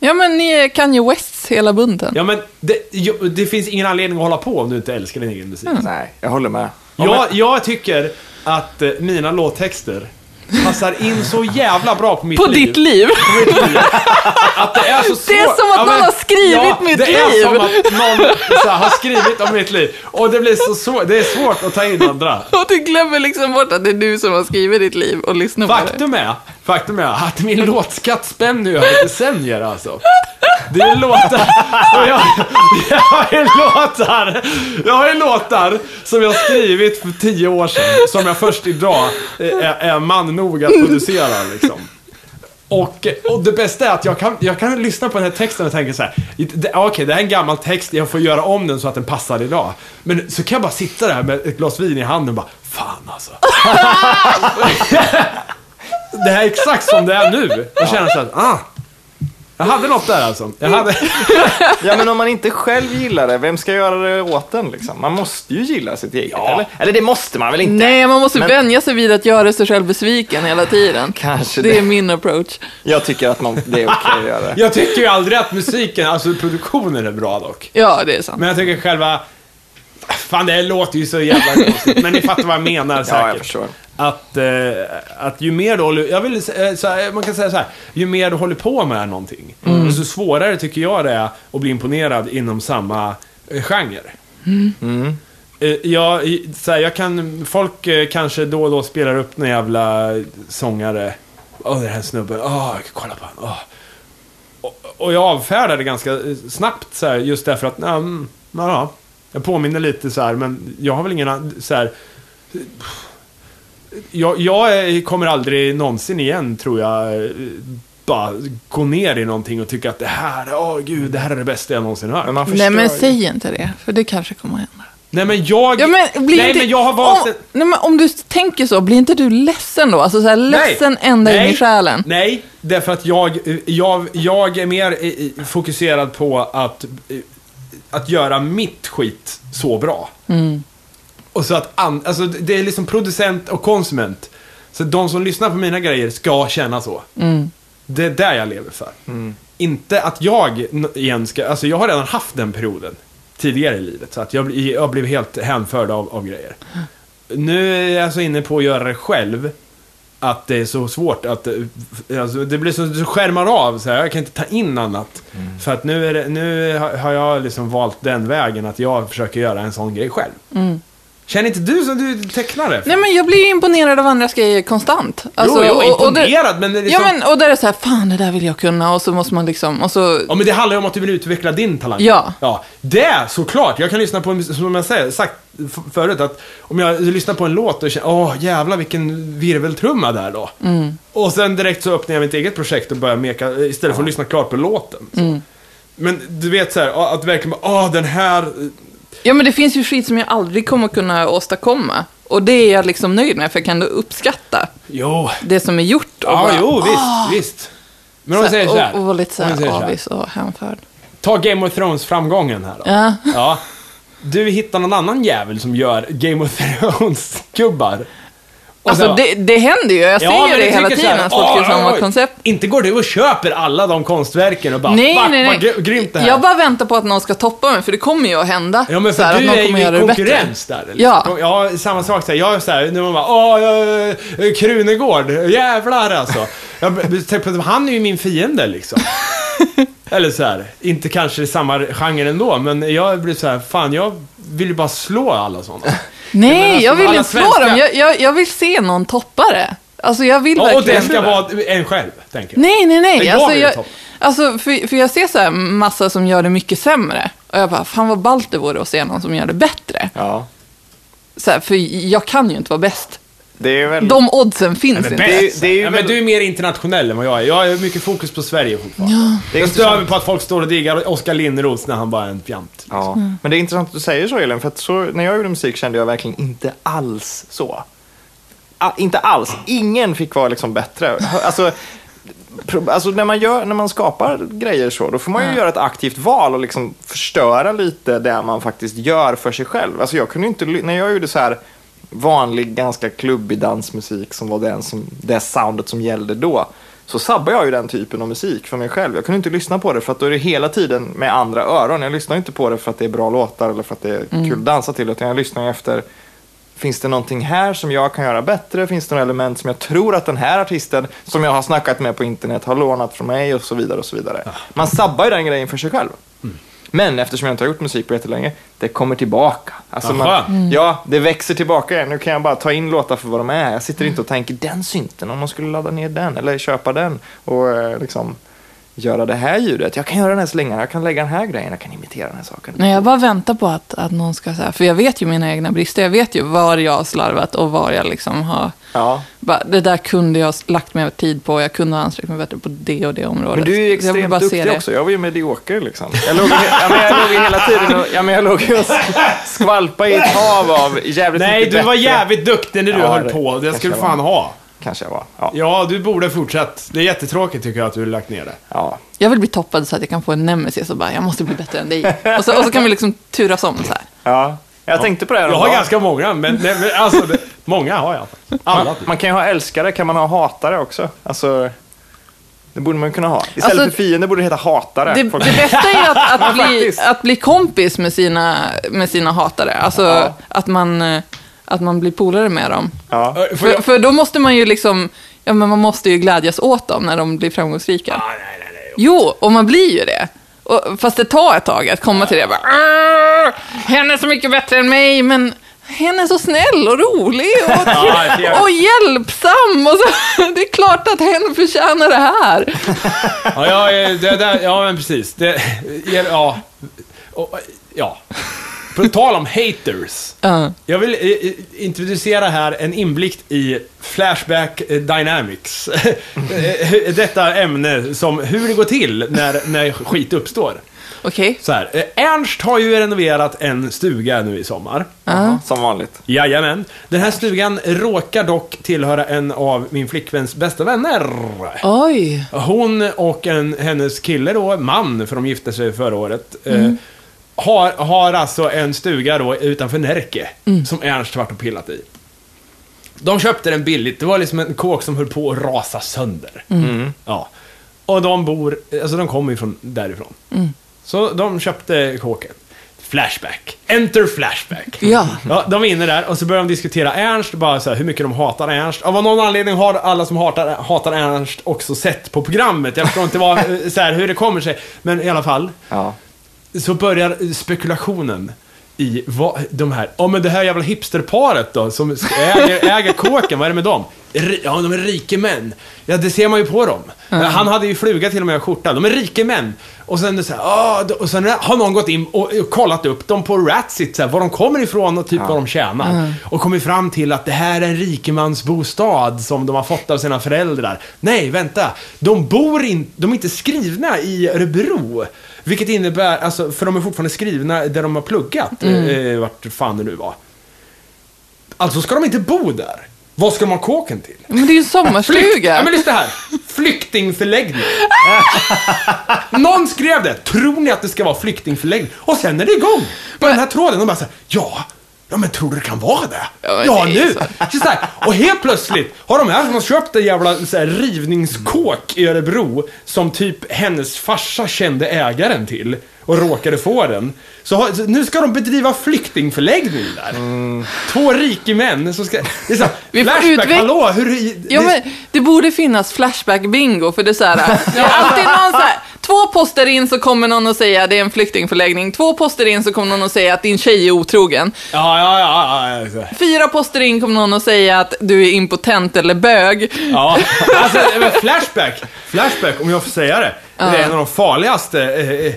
Ja, men ni är Kanye Wests hela bunten.
Ja, men det, jo, det finns ingen anledning att hålla på om du inte älskar din
Mm.
egen musik.
Nej, jag håller med.
Jag, jag tycker att eh, mina låttexter passar in så jävla bra på mitt
På
liv.
ditt liv.
Att det är så svårt.
Det är som att någon har skrivit mitt
det
liv.
är som att någon så här, har skrivit om mitt liv. Och det blir så svårt. Det är svårt att ta in andra.
Och du glömmer liksom bort att det är du som har skrivit ditt liv och lyssnar på det.
Faktum är, faktum är att min låtskatt spänner ju över decennier alltså. Det är låtar, och jag, jag har ju låtar, jag har ju låtar som jag skrivit för tio år sedan, som jag först idag är, är man nog att producera liksom. Och, och det bästa är att jag kan, jag kan lyssna på den här texten och tänka så här. det- Okej, det här är en gammal text, jag får göra om den så att den passar idag. Men så kan jag bara sitta där med ett glas vin i handen och bara, fan alltså. det här är exakt som det är nu. Och känner så att, ah. Jag hade något där alltså. Jag hade...
Ja, men om man inte själv gillar det, vem ska göra det åt en? Liksom? Man måste ju gilla sitt eget, eller? Eller det måste man väl inte?
Nej, man måste
Men-
vänja sig vid att göra sig själv besviken hela tiden.
Kanske
Det
det.
är min approach.
Jag tycker att man, det är okej att göra det.
Jag tycker ju aldrig att musiken, alltså produktionen är bra dock.
Ja, det är sant.
Men jag tycker själva... Fan, det här låter ju så jävla konstigt. Men ni fattar vad jag menar säkert.
Ja, jag förstår.
Att, eh, att ju mer du håller... Jag vill, eh, så här, man kan säga så här. Ju mer du håller på med någonting, desto svårare tycker jag det är att bli imponerad inom samma eh, genre.
Mm.
Eh, Ja, i- så här, jag kan, folk eh, kanske då och då spelar upp någon jävla sångare. Åh, den här snubben. Åh, kolla på honom. Åh. Och, och jag avfärdar det ganska eh, snabbt så här, just därför att, ja, mm, ja, ja. Jag påminner lite så här, men jag har väl ingen an- så här. Jag, jag eh, kommer aldrig någonsin igen, tror jag, eh, bara gå ner i någonting och tycka att det här, åh gud, det här är det bästa jag någonsin hört.
Men man förstår
Nej, men
ju.
säg inte det, för det kanske kommer hända.
Nej men jag...
Ja, men, blir
nej
inte,
men jag har valt...
om,
en-
nej, men om du tänker så, blir inte du ledsen då? Alltså så här, ledsen ända in i själen.
Nej, därför att jag, jag, jag är mer eh, eh, fokuserad på att, eh, att göra mitt skit så bra.
Mm.
Och så att an, alltså det är liksom producent och konsument. Så de som lyssnar på mina grejer ska känna så.
Mm.
Det är där jag lever för. Inte att jag n- igen ska, alltså jag har redan haft den perioden tidigare i livet. Så att jag, bli- jag blev helt hänförd av, av grejer. Nu är jag så inne på att göra det själv. Att det är så svårt att, eh, f- alltså det blir så, du skärmar av så här, jag kan inte ta in annat. För att nu, är det, nu har- har jag liksom valt den vägen att jag försöker göra en sån grej själv. Känner inte du som du tecknar det?
Mm. Nej, men jag blir ju imponerad av andras grejer konstant. Alltså,
jo, jo,
och- och det-
imponerad men det är liksom,
Ja, men och där är det så här, fan det där vill jag kunna och så måste man liksom, och så...
Ja, men det handlar ju om att du vill utveckla din talang.
Ja.
ja. Det, såklart. Jag kan lyssna på, en- som jag säger, sagt f- förut, att om jag lyssnar på en låt och känner, åh jävlar vilken virveltrumma där då.
Mm.
Och sen direkt så öppnar jag mitt eget projekt och börjar meka, istället för att lyssna klart på låten. Så.
Mm.
Men du vet så här, ja, att verkligen bara, åh den här...
Ja, men det finns ju skit som jag aldrig kommer kunna åstadkomma. Och det är jag liksom nöjd med, för jag kan då uppskatta
Jo.
det som är gjort. Och
Ja,
bara,
jo, visst,
"Ah!"
visst. Men om vi säger så här.
Och, och vara lite så
om vi
här
säger så här. Alltså,
avis och hänförd.
Ta Game of Thrones-framgången här då.
Ja.
Ja. Du hittar någon annan jävel som gör Game of Thrones-gubbar. Och
Alltså,
så-
det, det händer ju. Jag ser
men
ju
jag
det hela
tycker så
tiden,
här,
att folk gör
"Oj, oj,
samma
oj."
koncept.
Inte går du och köper alla de konstverken och bara
Nej,
Fuck,
nej, nej.
vad gr- grymt det här.
Jag bara väntar på att någon ska toppa mig, för det kommer ju att hända.
Ja men för
Så här, att
du
någon
är ju
kommer göra
i
det bättre.
konkurrens där. Eller?
Ja.
Kom- ja, samma sak. Så här, jag är så här, nu man bara, åh, jag, eh, Krunegård, jävlar alltså. Jag, b- b- tänk på- han är ju min fiende liksom. Eller så här, inte kanske i samma genre ändå, men jag blir så här, fan jag vill ju bara slå alla sådana.
Nej,
alltså,
jag vill
alla
inte slå
svenska-
dem. Jag, jag, jag vill se någon toppa det. Alltså, jag vill
Ja, och
verkligen
det ska vara en själv, tänker jag.
Nej, nej,
Men
nej.
jag
Alltså,
vill
jag,
toppa.
alltså, för, för jag ser så här massa som gör det mycket sämre. Och jag bara, fan vad ballt det vore att se någon som gör det bättre.
Ja,
Så här, för jag kan ju inte vara bäst.
det är ju väldigt...
De oddsen finns
Mm. Men
inte.
bäst.
Det är- det är ju
ja, men
väl-
du är mer internationell än vad jag är. Jag har mycket fokus på Sverige fortfarande.
Det är
Jag stör mig
intressant.
på att folk står och diggar Oskar Linnros när han bara är en fjant.
Ja. Men det är intressant att du säger så, Elin, för att så, när jag gjorde musik kände jag verkligen inte alls så. A, inte alls. Ingen fick vara liksom bättre. Alltså, pro- alltså när, man gör, när man skapar grejer så, då får man ju göra ett aktivt val och liksom förstöra lite det man faktiskt gör för sig själv. Alltså jag kunde inte, ly- när jag gjorde så här vanlig, ganska klubbig dansmusik som var den som, det soundet som gällde då, så sabbade jag ju den typen av musik för mig själv. Jag kunde inte lyssna på det för att då är det hela tiden med andra öron. Jag lyssnar inte på det för att det är bra låtar eller för att det är kul att dansa till, utan jag lyssnar ju efter Finns det någonting här som jag kan göra bättre? Finns det några element som jag tror att den här artisten som jag har snackat med på internet har lånat från mig och så vidare och så vidare. Man sabbar ju den grejen för sig själv. Men eftersom jag inte har gjort musik på jättelänge, det kommer tillbaka. Alltså
Aha.
man, Ja, det växer tillbaka igen. Nu kan jag bara ta in låtar för vad de är. Jag sitter inte och tänker den synten, om man skulle ladda ner den eller köpa den och eh, liksom göra det här ljudet. Jag kan göra den här slängan, jag kan lägga den här grejen, jag kan imitera den här saken.
Nej, jag bara väntar på att, att någon ska säga, för jag vet ju mina egna brister. Jag vet ju var jag har slarvat och var jag liksom har...
Ja.
Bara, det där kunde jag ha lagt mer tid på, jag kunde ha ansträngt mig bättre på det och det området.
Men du är ju
Jag vill
extremt
bara se
duktig
det.
också. Jag var ju medioker liksom. Jag låg, ja, men jag låg ju hela tiden och, ja, men jag låg ju och sk- skvalpa i ett hav av jävligt
Nej,
mycket
du var
bättre.
jävligt duktig när du
Ja,
höll
det
på. Det
kanske
ska du
jag var.
fan ha.
Kanske jag var. Ja.
Ja, du borde fortsatt. Det är jättetråkigt tycker jag att du har lagt ner det.
ja.
Jag vill bli toppad så att jag kan få en nemesis och bara, jag måste bli bättre än dig. Och så, och så kan vi liksom turas om så här.
ja. Jag tänkte på det här
Jag har
häromdagen.
ganska många, men, nej, men alltså, det, många har jag. Alla.
Man, man kan ju ha älskare, kan man ha hatare också? Alltså, det borde man ju kunna ha. Istället
Alltså,
för fiende borde det heta hatare.
Det,
Folk-
det bästa är att, att, bli,
faktiskt.
att bli kompis med sina, med sina hatare. Alltså
Ja.
att, man, eh, att man blir polare med dem.
Ja.
Ö, får
För,
jag-
för då måste man ju liksom, ja men man måste ju glädjas åt dem när de blir framgångsrika. Jo, och man blir ju det. Och, fast det tar ett tag att komma till det. Bara, "Arr, henne är så mycket bättre än mig, men henne är så snäll och rolig och,
Ja, det är-
och hjälpsam. Och så, det är klart att hen förtjänar det här.
Ja, ja, eh, det, där, ja men precis. Det, ja. Och, ja. På tal om haters.
Ja.
Jag vill eh, eh, introducera här en inblick i Flashback eh, Dynamics. Eh, Detta ämne som hur det går till när, när skit uppstår.
Okej.
Så här, eh, Ernst har ju renoverat en stuga nu i sommar.
Ja, Som vanligt.
Jajamän. Den här stugan råkar dock tillhöra en av min flickväns bästa vänner.
Oj.
Hon och en, hennes kille då, man, för de gifte sig förra året, eh, har, har alltså en stuga då utanför Närke, som Ernst varit och pillat i. De köpte den billigt, det var liksom en kåk som höll på att rasa sönder. Ja. Och de bor, alltså de kommer ju från därifrån. Så de köpte kåken. Flashback. Enter Flashback.
Ja.
Ja, de är inne där och så börjar de diskutera Ernst, bara så här, hur mycket de hatar Ernst. Av någon anledning har alla som hatar, hatar Ernst också sett på programmet. Jag förstår inte vad, så här, hur det kommer sig. Men i alla fall,
Ja.
så börjar spekulationen i vad, de här, ja men det här jävla hipsterparet då, som äger, äger kåken, vad är det med dem? Ri- Ja, de är rike män. Ja, det ser man ju på dem. Han hade ju fluga till och med och skjorta. De är rike män. Och sen, så här, ah, då- och sen har någon gått in och, och kollat upp dem på Ratsit, så här, var de kommer ifrån och typ vad de tjänar. Och kommit fram till att det här är en rikemansbostad som de har fått av sina föräldrar. Nej, vänta. De bor inte, de är inte skrivna i Örebro. Vilket innebär, alltså, för de är fortfarande skrivna där de har pluggat, eh, vart fan det nu var. Alltså ska de inte bo där. Vad ska de ha kåken till?
Men det är ju en
Flykt,
sommarstuga.
ja, men lyssna här. Flyktingförläggning. Någon skrev det. Tror ni att det ska vara flyktingförläggning? Och sen är det igång. På den här tråden. De bara så här, ja. Ja men tror du det kan vara det?
Ja, men
Ja
det är
nu!
så.
Så här, och helt plötsligt har de här som har köpt en jävla så här, rivningskåk i Örebro som typ hennes farsa kände ägaren till och råkade få den. Så, har, så nu ska de bedriva flyktingförläggning där. Två rikemän som ska... Det är så här,
Mm. Vi får
flashback,
utveck-
hallå, hur...
Ja,
det-
men det borde finnas Flashback-bingo, för det är så här, det är alltid någon så här, två poster in så kommer någon och säga det är en flyktingförläggning, två poster in så kommer någon och säga att din tjej är otrogen,
Ja, ja, ja. ja, ja.
fyra poster in kommer någon och säga att du är impotent eller bög.
ja. Alltså, men flashback, flashback, om jag får säga det. Det är en av de farligaste eh, eh,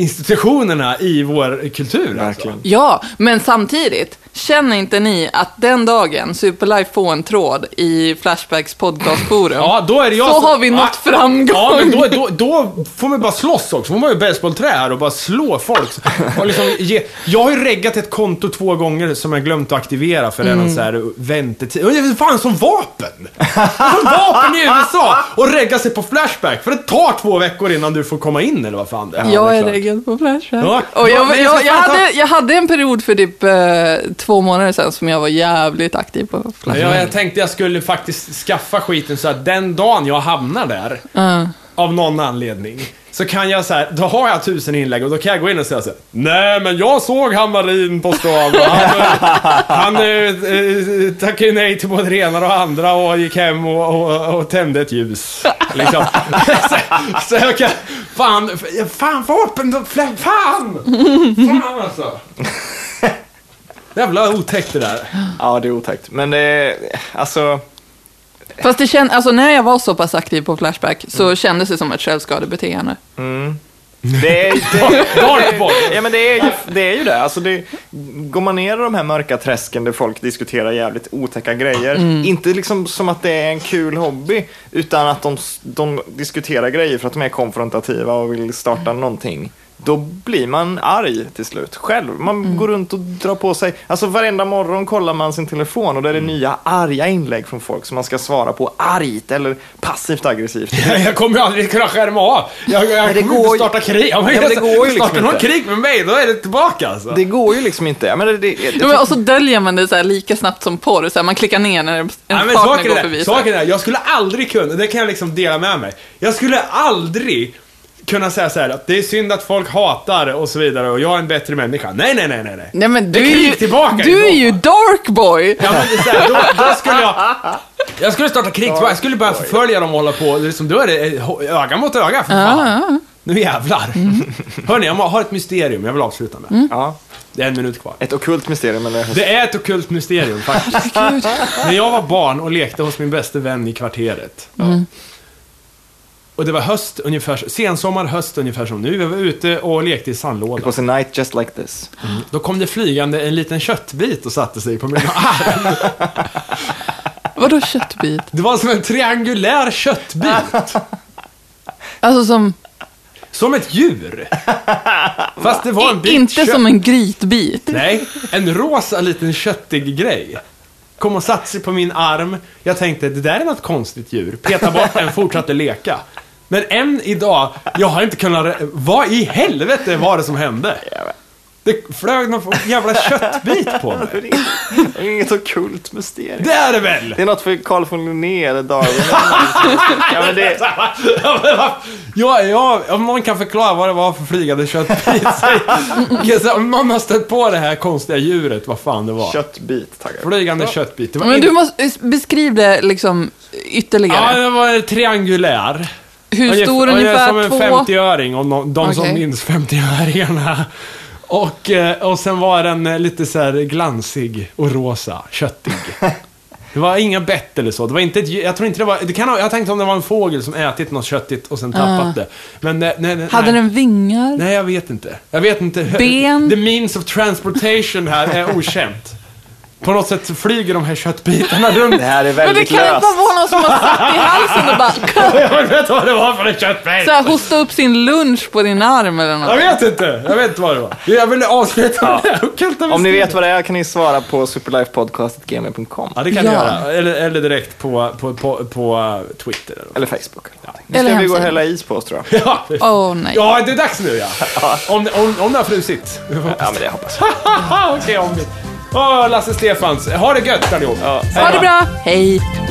institutionerna i vår kultur. Alltså.
Verkligen.
Ja, men samtidigt, känner inte ni att den dagen Superlife får en tråd i Flashbacks podcastforum,
Ja, då är det jag
så
som-
har vi nått
Ja.
framgång.
Ja, men då, då, då får man bara slåss också. får man ju basebollträ här och bara slå folk. Och liksom ge... Jag har ju reggat ett konto två gånger som jag glömt att aktivera för redan
Mm.
så här väntetid. Och Det är fan som vapen! Det är Som vapen i USA! Och regga sig på Flashback, för det tar två veckor innan du får komma in eller vad fan det är.
jag
det är
är
klart.
reggad på Flashback.
Ja,
och
ja,
jag,
men jag
jag,
ska
jag,
fan ta-
hade, jag hade en period för typ eh, två månader sedan som jag var jävligt aktiv på Flashback.
Ja, jag tänkte jag skulle faktiskt skaffa skiten så att den dagen jag hamnar där, av någon anledning. Så kan jag så här, då har jag tusen inlägg och då kan jag gå in och säga så här, Nej men jag såg Hammarin på stan och han, eh, han eh, eh, tackade ju nej till både det ena och det andra och gick hem och, och, och tände ett ljus. Liksom. så, så jag kan, fan, fan vapen, fan! Fan alltså! Jävla otäckt det där.
Ja, det är otäckt. Men det är, alltså,
Fast det kändes, alltså när jag var så pass aktiv på Flashback så
Mm.
kändes det som ett självskadebeteende.
det är, det
Dark boy.
Ja men det är ju det. Är ju det. Alltså det går man ner i de här mörka träsken där folk diskuterar jävligt otäcka grejer,
Mm.
inte liksom som att det är en kul hobby, utan att de, de diskuterar grejer för att de är konfrontativa och vill starta
Mm.
någonting. Då blir man arg till slut själv. Man
Mm.
går runt och drar på sig, alltså varenda morgon kollar man sin telefon och där är det
Mm.
nya arga inlägg från folk som man ska svara på argt eller passivt aggressivt.
Jag kommer ju aldrig kunna skärma av. Jag, jag
Men det
kommer
går
inte
ju-
starta krig. Ja, men
Ja, men det
jag-
går ju liksom
startar någon
inte.
krig med mig, då är det tillbaka alltså.
Det går ju liksom inte. Jag menar, det, det,
Ja, men, alltså- och så döljer man det så här lika snabbt som porr, så här, man klickar ner när en
Ja, men
partner
saken
går
är,
förbi.
det-
så här.
saken är, det, jag skulle aldrig kunna, det kan jag liksom dela med mig. Jag skulle aldrig kunna säga så här att det är synd att folk hatar och så vidare och jag är en bättre människa. Nej, nej, nej, nej. nej.
Nej men
Det
du
är
är
krig
ju,
tillbaka
du är
idag.
ju dark boy!
Ja, men det är så här, då, då skulle jag... Jag skulle starta krig, jag skulle börja förfölja dem och hålla på. Det är som, då är det eh, ho- öga mot öga,
Ah.
för fan. Nu jävlar.
Mm.
Hörni, jag har ett mysterium jag vill avsluta med.
ja,
Det är en minut kvar.
ett ockult mysterium. Eller?
Det är ett ockult mysterium faktiskt.
Gud.
När jag var barn och lekte hos min bästa vän i kvarteret.
Mm.
Och det var höst ungefär, sensommar, höst ungefär som nu. Vi var ute och lekte i
It
sandlådan.
was a night just like this.
Då kom det flygande en liten köttbit och satte sig på mina arm.
Vadå köttbit?
Det var som en triangulär köttbit.
Alltså som,
Som ett djur. Fast det var en bit
inte
kött.
som en grytbit.
Nej, en rosa liten köttig grej. Kom och satte sig på min arm. Jag tänkte, det där är något konstigt djur. Peta bort den, fortsatte leka. Men än idag, jag har inte kunnat... re- Vad i helvete var det som hände? Det flög någon jävla köttbit på
Det
mig.
är inget- det är inget ockult mysterium.
Det är det väl?
Det är något för Carl von Linné eller Darwin. ja, men det,
Ja, ja, om någon kan förklara vad det var för flygande köttbit. säg- säg- Om någon har stött på det här konstiga djuret, vad fan det var.
köttbit, tackar.
Flygande köttbit. Det var
Men
inte-
du måste, eh, beskriv det liksom
Ja,
ytterligare.
den var triangulär.
Hur stor
Som
ungefär?
en
Två?
50-öring, om de, de som
Okej.
minns 50-öringarna. Och, eh, och sen var den eh, lite så här glansig och rosa, köttig. Det var inga bett eller så. Det var inte ett, djur- jag tror inte det var, det kan ha, jag tänkte om det var en fågel som ätit något köttigt och sen tappat det. Men nej, nej, nej.
Ah. Hade den vingar?
Nej, jag vet inte. Jag vet inte.
Ben?
The means of transportation här är okänt. På något sätt så flyger de här köttbitarna runt.
Det här är
Men det
väldigt
kan ju
löst.
bara vara någon som har satt i halsen och bara
Jag vet vad det var för en köttbit.
så här, hosta upp sin lunch på din arm eller
Jag
något.
vet inte. Jag vet inte vad det var. Jag ville avsluta med det. Jag kan inte
Om ni
beskriva.
vet vad det är kan ni svara på superlifepodcast.gmail.com
Ja, det kan ni
Ja.
göra. Eller, eller direkt på, på, på, på eh, Twitter. Eller.
eller Facebook. Eller någonting. nu
Eller
ska vi gå och
hemsidan.
hälla is på oss tror jag.
Ja.
Åh oh, nej.
ja, det är dags nu ja. Om, om, om det har frusit.
Ja, men det hoppas jag.
Okej, om vi... Åh, Lasse Stefans. Ha det gött allihop.
Ha det bra, hej!